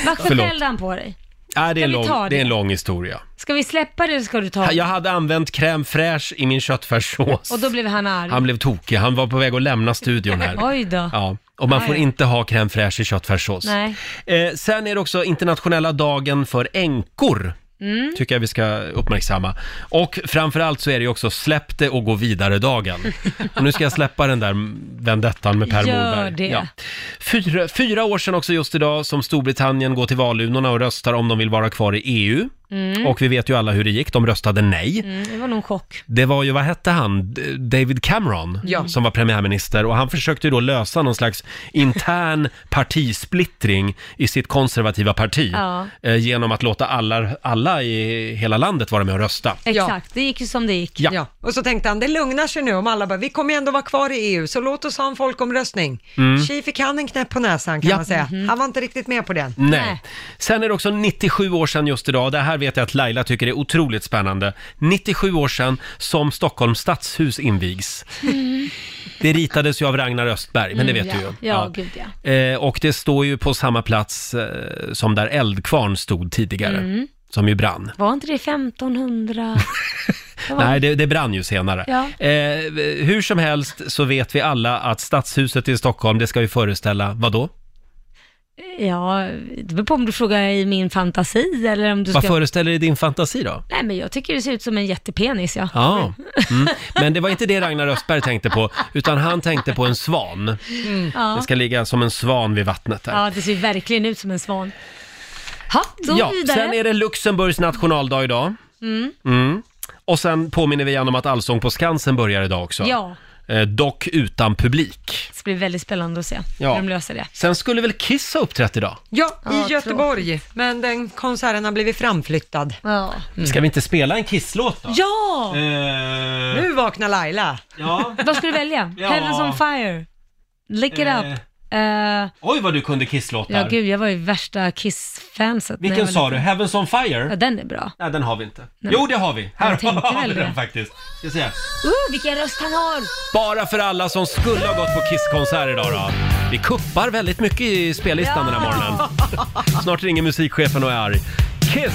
Varför Förlåt. skällde han på dig? Nej, det, är en Ska vi ta lång, det? det är en lång historia. Ska vi släppa det eller ska du ta Jag det? hade använt crème fraîche i min köttfärssås. Och då blev han arg. Han blev tokig. Han var på väg att lämna studion här. Oj då. Ja, och man Aj, får aj. inte ha crème fraîche i köttfärssås. Nej. Eh, sen är det också internationella dagen för änkor. Mm. Tycker jag vi ska uppmärksamma. Och framförallt så är det ju också släpp det och gå vidare-dagen. Och nu ska jag släppa den där vendettan med Per Gör Morberg. det. Fyra, fyra år sedan också just idag som Storbritannien går till valurnorna och röstar om de vill vara kvar i EU. Mm. Och vi vet ju alla hur det gick, de röstade nej. Mm, det var nog en chock. Det var ju, vad hette han, D- David Cameron Ja. som var premiärminister och han försökte ju då lösa någon slags intern partisplittring i sitt konservativa parti Ja. eh, genom att låta alla, alla i hela landet vara med och rösta. Exakt, det gick ju som det gick. Ja. Och så tänkte han, det lugnar sig nu om alla bara, vi kommer ju ändå vara kvar i EU, så låt oss ha en folkomröstning. Mm. Tji fick han en knäpp på näsan kan Ja. man säga. Han var inte riktigt med på den. Nej. Sen är det också 97 år sedan just idag, det här vet jag att Laila tycker är otroligt spännande. 97 år sedan som Stockholms stadshus invigs. Det ritades ju av Ragnar Östberg, men det vet Mm. ja. du ju. Ja, gud ja. Eh, och det står ju på samma plats eh, som där Eldkvarn stod tidigare, Mm. som ju brann. Var inte det 1500? Vad var Nej, det, det brann ju senare. Ja. Eh, hur som helst så vet vi alla att Stadshuset i Stockholm, det ska ju föreställa, vad då? Ja, det beror på om du frågar i min fantasi eller om du Vad ska... föreställer det i din fantasi då? Nej, men jag tycker det ser ut som en jättepenis, ja. Ja, mm. men det var inte det Ragnar Östberg tänkte på, utan han tänkte på en svan. Mm. Ja. Det ska ligga som en svan vid vattnet där. ja, det ser verkligen ut som en svan. Ha, då Ja, vidare. sen är det Luxemburgs nationaldag idag. Mm. Mm. Och sen påminner vi igen om att Allsång på Skansen börjar idag också. Ja, Eh, dock utan publik. det blir väldigt spännande att se Ja. hur de löser det. Sen skulle väl Kiss ha uppträtt idag? Ja, i Ja, Göteborg. Men den konserten har blivit framflyttad. Ja. Ska vi inte spela en Kiss-låt då? Mm. Ja! Eh, Nu vaknar Laila. ja. Vad ska du välja? Ja. Heavens on fire? Lick it Eh. up? Eh, Oj, vad du kunde Kiss-låtar. ja, gud, jag var ju värsta Kiss-fanset. när jag Vilken var sa du? liten. Heavens on fire? Ja, den är bra. Nej, den har vi inte. Nej. Jo, det har vi. Jag Här tänkte har vi väl det. den faktiskt. Ska se. Uh, vilken röst han har! Bara för alla som skulle ha gått på Kiss-konsert idag då. Vi kuppar väldigt mycket i spellistan den här morgonen. Snart ringer musikchefen och är arg. Kiss!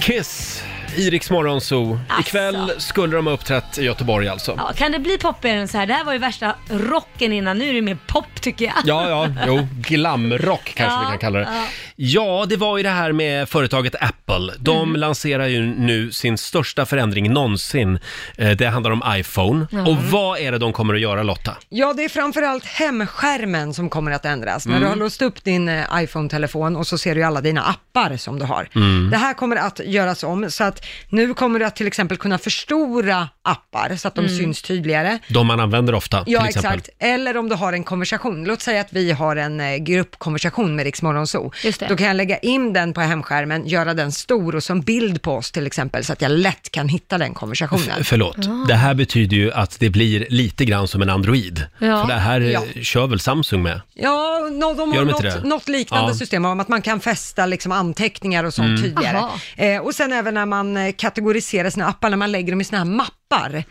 Kiss i Rix Morgon Zoo. Ikväll skulle de ha uppträtt i Göteborg alltså. Ja, kan det bli poppigare än så här? Det här var ju värsta rocken innan, nu är det mer pop tycker jag. Ja, ja, jo, glamrock kanske vi Ja, kan kalla det. ja. Ja, det var ju det här med företaget Apple. De Mm. lanserar ju nu sin största förändring någonsin. Eh, Det handlar om iPhone. Ja. Och vad är det de kommer att göra Lotta? Ja, det är framförallt hemskärmen som kommer att ändras. När du Mm. har låst upp din eh, iPhone-telefon och så ser du ju alla dina appar som du har. Mm. Det här kommer att göras om, så att nu kommer du att till exempel kunna förstora appar så att de Mm. syns tydligare. De man använder ofta Ja, till exempel. exakt. Eller om du har en konversation. Låt säga att vi har en eh, gruppkonversation med Rix Morgon Zoo. Just det. Då kan jag lägga in den på hemskärmen, göra den stor och som bild på oss till exempel, så att jag lätt kan hitta den konversationen. F- förlåt, det här betyder ju att det blir lite grann som en Android. Ja. För det här eh, Ja. kör väl Samsung med? Ja, no, de Gör har de inte något, det? något liknande Ja. system om att man kan fästa liksom anteckningar och sånt Mm. tydligare. Aha. Eh, och sen även när man eh, kategoriserar sina appar, när man lägger dem i såna här mappar,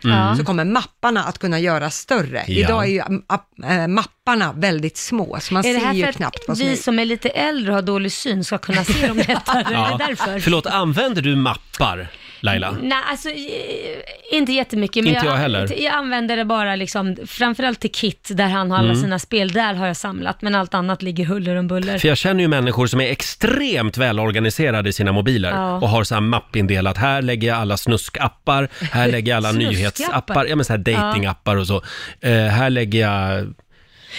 Mm. så kommer mapparna att kunna göras större. Ja. Idag är ju app, eh, mapparna väldigt små, så man är det ser här ju för knappt vad att som vi är som är lite äldre och har dålig syn ska kunna se dem lättare? Är det därför? Förlåt, använder du mappar, Laila? Nej, alltså eh, inte jättemycket. Men Inte jag heller. Jag använder det bara liksom, framförallt till Kit, där han har alla Mm. sina spel. Där har jag samlat, men allt annat ligger huller om buller. För jag känner ju människor som är extremt välorganiserade i sina mobiler Ja. och har så här mappindelat. Här lägger jag alla snuskappar, här lägger jag alla Snuskappar? nyhetsappar, ja men så här datingappar och så. Eh, här lägger jag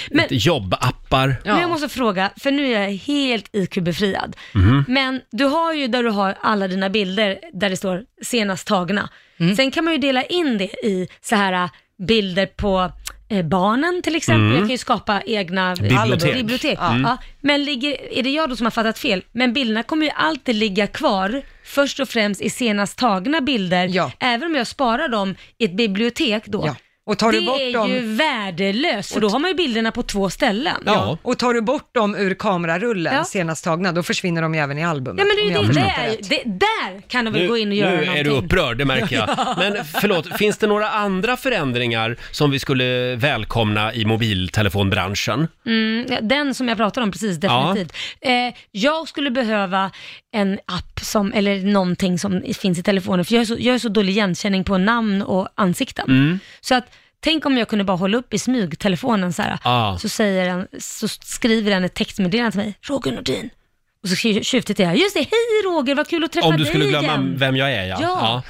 Men- Lite jobbappar. Men jag måste fråga, för nu är jag helt IQ-befriad. Mhm. Men du har ju där du har alla dina bilder där det står senast tagna. Mm. Sen kan man ju dela in det i så här äh, bilder på eh, barnen till exempel. Mm. Jag kan ju skapa egna Bibliotek. bibliotek. Mm. Ja. Men ligger, är det jag då som har fattat fel? Men bilderna kommer ju alltid ligga kvar först och främst i senast tagna bilder. Även om jag sparar dem i ett bibliotek då. Ja. Och tar du det bort är dem- ju värdelöst, för då har man ju bilderna på två ställen. Ja. Och tar du bort dem ur kamerarullen senast tagna, då försvinner de ju även i albumet. Ja men det är om jag ju det, förstått det, är, rätt. ju- det, där kan de väl Nu, gå in och nu göra är någonting. du upprörd, det märker Ja. jag. Men förlåt, finns det några andra förändringar som vi skulle välkomna i mobiltelefonbranschen? Mm, ja, den som jag pratade om precis, Ja. definitivt. Eh, jag skulle behöva en app som, eller någonting som finns i telefonen, för jag är så, jag är så dålig igenkänning på namn och ansikten. Mm. Så att, tänk om jag kunde bara hålla upp i smyg telefonen så här, Ah. så, säger den, så skriver den ett textmeddelande till mig, Roger Nordin. Och så tju- tjuvtittar jag, just det, hej Roger, vad kul att träffa Om du dig skulle glömma igen. vem jag är, ja. Ja.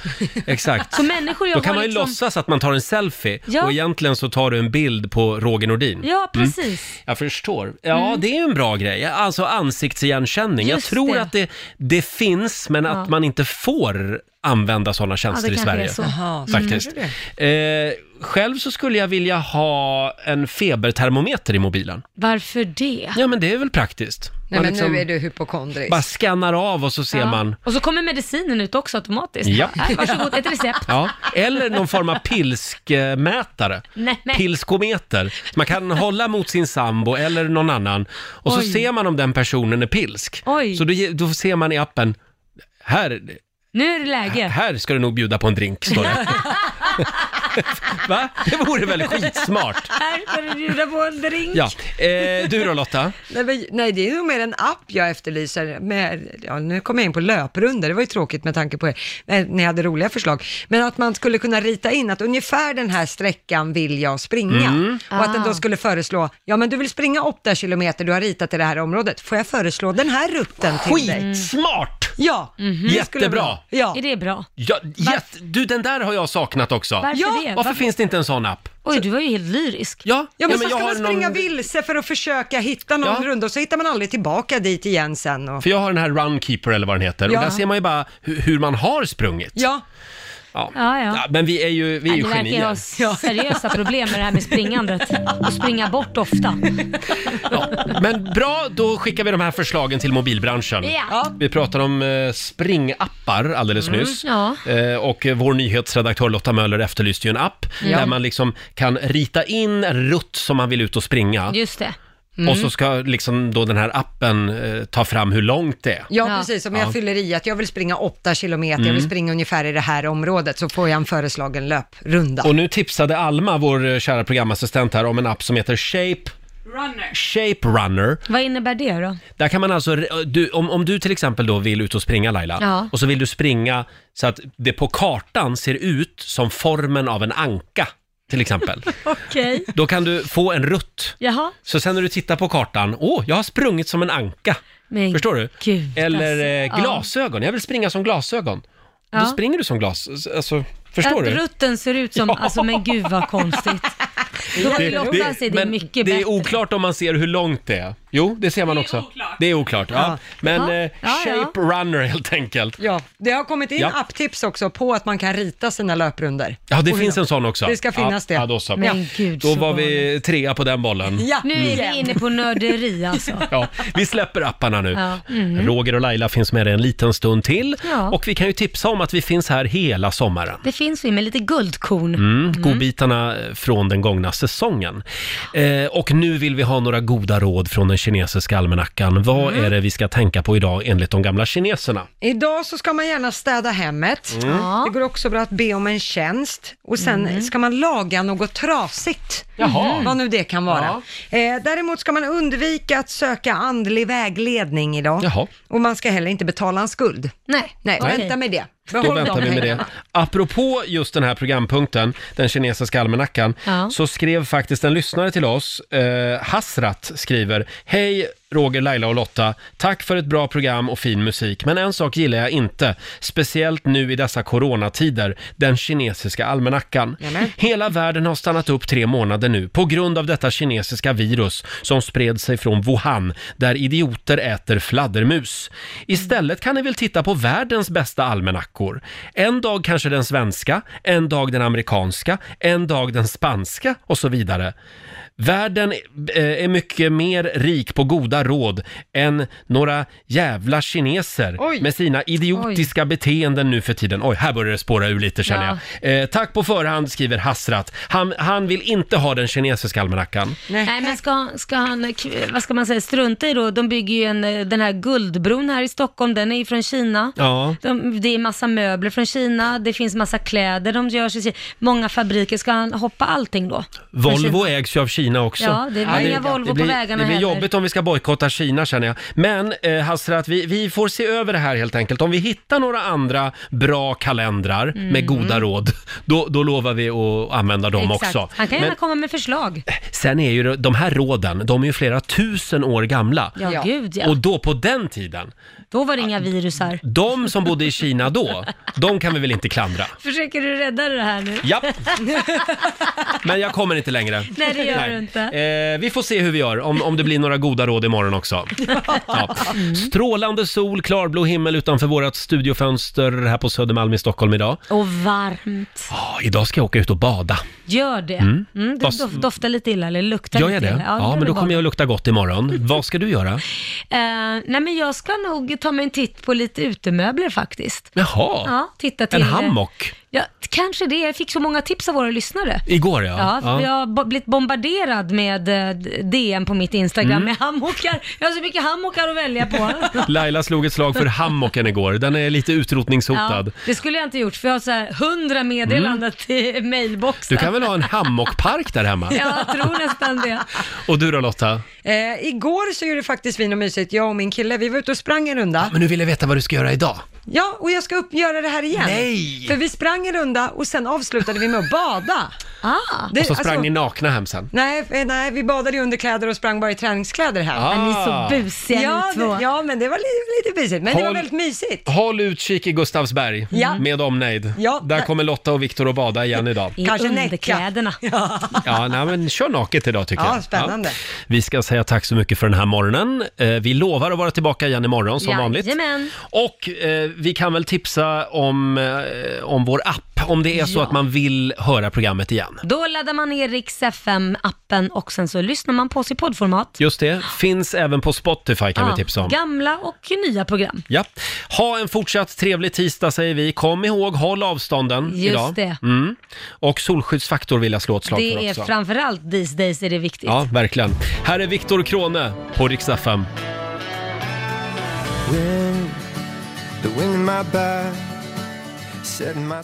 exakt. Så människor jag Då kan har man ju liksom... låtsas att man tar en selfie Ja. och egentligen så tar du en bild på Roger Nordin. Ja, Mm. precis. Jag förstår. Ja, Mm. det är ju en bra grej. Alltså ansiktsigenkänning. Just jag tror det. att det, det finns, men att Ja. man inte får använda sådana tjänster det i kanske Sverige. är så. Mm. Jaha, så Faktiskt. kanske Eh, själv så skulle jag vilja ha en febertermometer i mobilen. Varför det? Ja, men det är väl praktiskt. Nej Man men liksom nu är du hypokondrisk. Bara skannar av och så ser Ja. man Och så kommer medicinen ut också automatiskt. Ja. Här, varsågod, ett recept. Ja, eller någon form av pilskmätare. Nej, nej. Pilskometer. Man kan hålla mot sin sambo eller någon annan och så Oj. ser man om den personen är pilsk. Oj. Så då, ge- då ser man i appen, här, Nu är det läge. här ska du nog bjuda på en drink, står det. Va? Det vore väl skitsmart? Här ska du bjuda på en drink. Ja. Eh, du då Lotta? Nej, men, nej, det är nog mer en app jag efterlyser. Med, ja, nu kommer jag in på löprunder, det var ju tråkigt med tanke på er. Men, ni hade roliga förslag. Men att man skulle kunna rita in att ungefär den här sträckan vill jag springa. Mm. Och att den Ah. då skulle föreslå, ja men du vill springa 8 kilometer, du har ritat i det här området. Får jag föreslå den här rutten till dig? Skitsmart! Ja, Mhm. det skulle Jättebra. vara- Ja. Är det bra? Ja, jätte- du, den där har jag saknat också. Varför ja, det? Varför, Varför? finns det inte en sån app? Oj, du var ju helt lyrisk. Ja, Ja men, men så ska jag man har någon- springa vilse för att försöka hitta någon Ja. runda och så hittar man aldrig tillbaka dit igen sen. Och... För jag har den här Runkeeper eller vad den heter Ja. och där ser man ju bara hu- hur man har sprungit. Ja. Ja. Ja, ja. men vi är ju, vi är Nej, ju det verkar ju genier. ha seriösa problem med det här med springandet. Och springa bort ofta. Men bra, då skickar vi de här förslagen till mobilbranschen. Ja. Ja. Vi pratar om eh, springappar alldeles Mm, nyss. ja. Eh, och vår nyhetsredaktör Lotta Möller efterlyste ju en app Mm. Ja. där man liksom kan rita in en rutt som man vill ut och springa. Just Mm. det. Och så ska liksom då den här appen eh, ta fram hur långt det är. Ja, precis. Om Ja. jag fyller i att jag vill springa 8 kilometer, jag vill Mm. springa ungefär i det här området, så får jag en föreslagen löprunda. Och nu tipsade Alma, vår eh, kära programassistent här, om en app som heter Shape, Runner. Shape Runner. Vad innebär det då? Där kan man alltså, du, om, om du till exempel då vill ut och springa Laila, Ja. och så vill du springa så att det på kartan ser ut som formen av en anka, till exempel. Okej. då kan du få en rutt. Jaha. Så sen när du tittar på kartan, åh, jag har sprungit som en anka. Men Förstår du? Gud, Eller alltså. eh, glasögon, jag vill springa som glasögon. Ja. Då springer du som glas, alltså, förstår att du? rutten ser ut som, alltså men gud vad konstigt. Då har Lotta sig det men mycket det bättre. är oklart om man ser hur långt det är. Jo, det ser man också. Det är oklart. Ja. Ja. Men Ja. eh, Ja, ja. shape runner helt enkelt. Ja, det har kommit in Ja. apptips också på att man kan rita sina löprundor. Ja, det finns en sån också. Det ska finnas ja, det. Ja, då så. Men gud, då så var vi trea på den bollen. Ja. Nu är Mm. vi inne på nörderi alltså. Ja, vi släpper apparna nu. Ja. Mm. Mhm. Roger och Laila finns med dig en liten stund till. Ja. Och vi kan ju tipsa om att vi finns här hela sommaren. Det finns vi med lite guldkorn. Mm, godbitarna från den gångna säsongen. Eh, och nu vill vi ha några goda råd från den kinesiska almanackan. Vad Mm. är det vi ska tänka på idag enligt de gamla kineserna? Idag så ska man gärna städa hemmet. Mm. Ja. Det går också bra att be om en tjänst. Och sen Mm. ska man laga något trasigt. Mm. Jaha. Vad nu det kan vara. Eh, däremot ska man undvika att söka andlig vägledning idag. Jaha. Och man ska heller inte betala en skuld. Nej, Nej Okej. vänta med det. Då Behåll väntar de vi med det. pengarna. Apropå just den här programpunkten, den kinesiska almanackan, Ja. så skrev faktiskt en lyssnare till oss, eh, Hasrat skriver, Hej Roger, Laila och Lotta, tack för ett bra program och fin musik. Men en sak gillar jag inte, speciellt nu i dessa coronatider, den kinesiska almanackan. Hela världen har stannat upp tre månader nu på grund av detta kinesiska virus som spred sig från Wuhan, där idioter äter fladdermus. Istället kan ni väl titta på världens bästa almanackor. En dag kanske den svenska, en dag den amerikanska, en dag den spanska och så vidare. Världen eh, är mycket mer rik på goda råd än några jävla kineser Oj. med sina idiotiska beteenden nu för tiden. Oj, här börjar det spåra ur lite känner Ja. jag. Eh, tack på förhand skriver Hasrat. Han, han vill inte ha den kinesiska almanackan. Nej, men ska, ska han, eh, k- vad ska man säga, strunta i då? De bygger ju en, eh, den här guldbron här i Stockholm, den är ju från Kina. Ja. De, det är massa möbler från Kina, det finns massa kläder de görs i Kina. Många fabriker, ska han hoppa allting då? Från Volvo Kina? ägs ju av Kina också. Ja, det är väl inga Volvo på blir, vägarna Det blir heller. jobbigt om vi ska bojkotta Kina känner jag. Men eh, Hasrat, vi, vi får se över det här helt enkelt. Om vi hittar några andra bra kalendrar Mm. med goda råd, då, då lovar vi att använda dem Exakt. också. Han kan gärna Men komma med förslag. sen är ju det- de här råden, de är ju flera tusen år gamla. Ja, gud ja. Och då på den tiden, Då var det inga virus här. de som bodde i Kina då, de kan vi väl inte klandra. Försöker du rädda det här nu? Japp. Men jag kommer inte längre. Nej, det gör du inte. Eh, vi får se hur vi gör, om, om det blir några goda råd imorgon också. Ja. Strålande sol, klarblå himmel utanför vårt studiofönster här på Södermalm i Stockholm idag. Och varmt. Ja, idag ska jag åka ut och bada. Gör det. Mm. Mm. det Vad- dof- doftar lite illa, eller luktar Gör lite jag det? illa. Ja, kan men det då vara. kommer jag att lukta gott imorgon. Vad ska du göra? Eh, nej men jag ska nog ta mig en titt på lite utemöbler faktiskt. Jaha, Ja, titta till, eh, en hammock. Ja, kanske det. Jag fick så många tips av våra lyssnare. Igår ja. Ja, för Ja. jag har bo- blivit bombarderad med eh, d- DM på mitt Instagram Mm. med hammockar. Jag har så mycket hammockar att välja på. Laila slog ett slag för hammocken igår. Den är lite Ja, utrotningshotad. det skulle jag inte gjort för jag har så här 100 meddelanden till Mm. Du mailboxen. kan väl ha en hammockpark där hemma? Ja, jag tror nästan det. Och du då Lotta? Eh, igår så gjorde faktiskt vi något mysigt, jag och min kille, vi var ute och sprang en runda. Men nu vill jag veta vad du ska göra idag. Ja, och jag ska upp göra det här igen. Nej! För vi sprang en runda och sen avslutade vi med att bada. Ah. och så Eh, sprang alltså- ni nakna hem sen. Nej, eh, nej, vi badade i underkläder och sprang bara i träningskläder hem. Ah. Men ni är så busiga, ni ja, två. det- Ja, men det var lite, lite busigt. Men det var Håll- väldigt mysigt. Håll utkik i Gustavsberg Ja. med omnejd. Ja. Där kommer Lotta och Viktor att bada igen idag. I Kanske näcka. underkläderna. Ja, nej, men kör naket idag tycker Ja, jag. spännande. Vi ska säga tack så mycket för den här morgonen. Eh, Vi lovar att vara tillbaka igen imorgon som vanligt. Jajamän. Och eh, vi kan väl tipsa om, eh, om vår app, om det är så Ja. att man vill höra programmet igen. Då laddar man ner Rix FM-appen och sen så lyssnar man på oss i poddformat. Just det, finns även på Spotify kan Ja, vi tipsa om. Gamla och nya program. Ja. Ha en fortsatt trevlig tisdag säger vi. Kom ihåg, håll avstånden Just idag. det. Mm. Och solskyddsfaktor vill jag slå ett slag för Det är också. framförallt these days är det viktigt. Ja, verkligen. Här är Viktor Krone på Rix FM. Wind, the wind in my back, setting my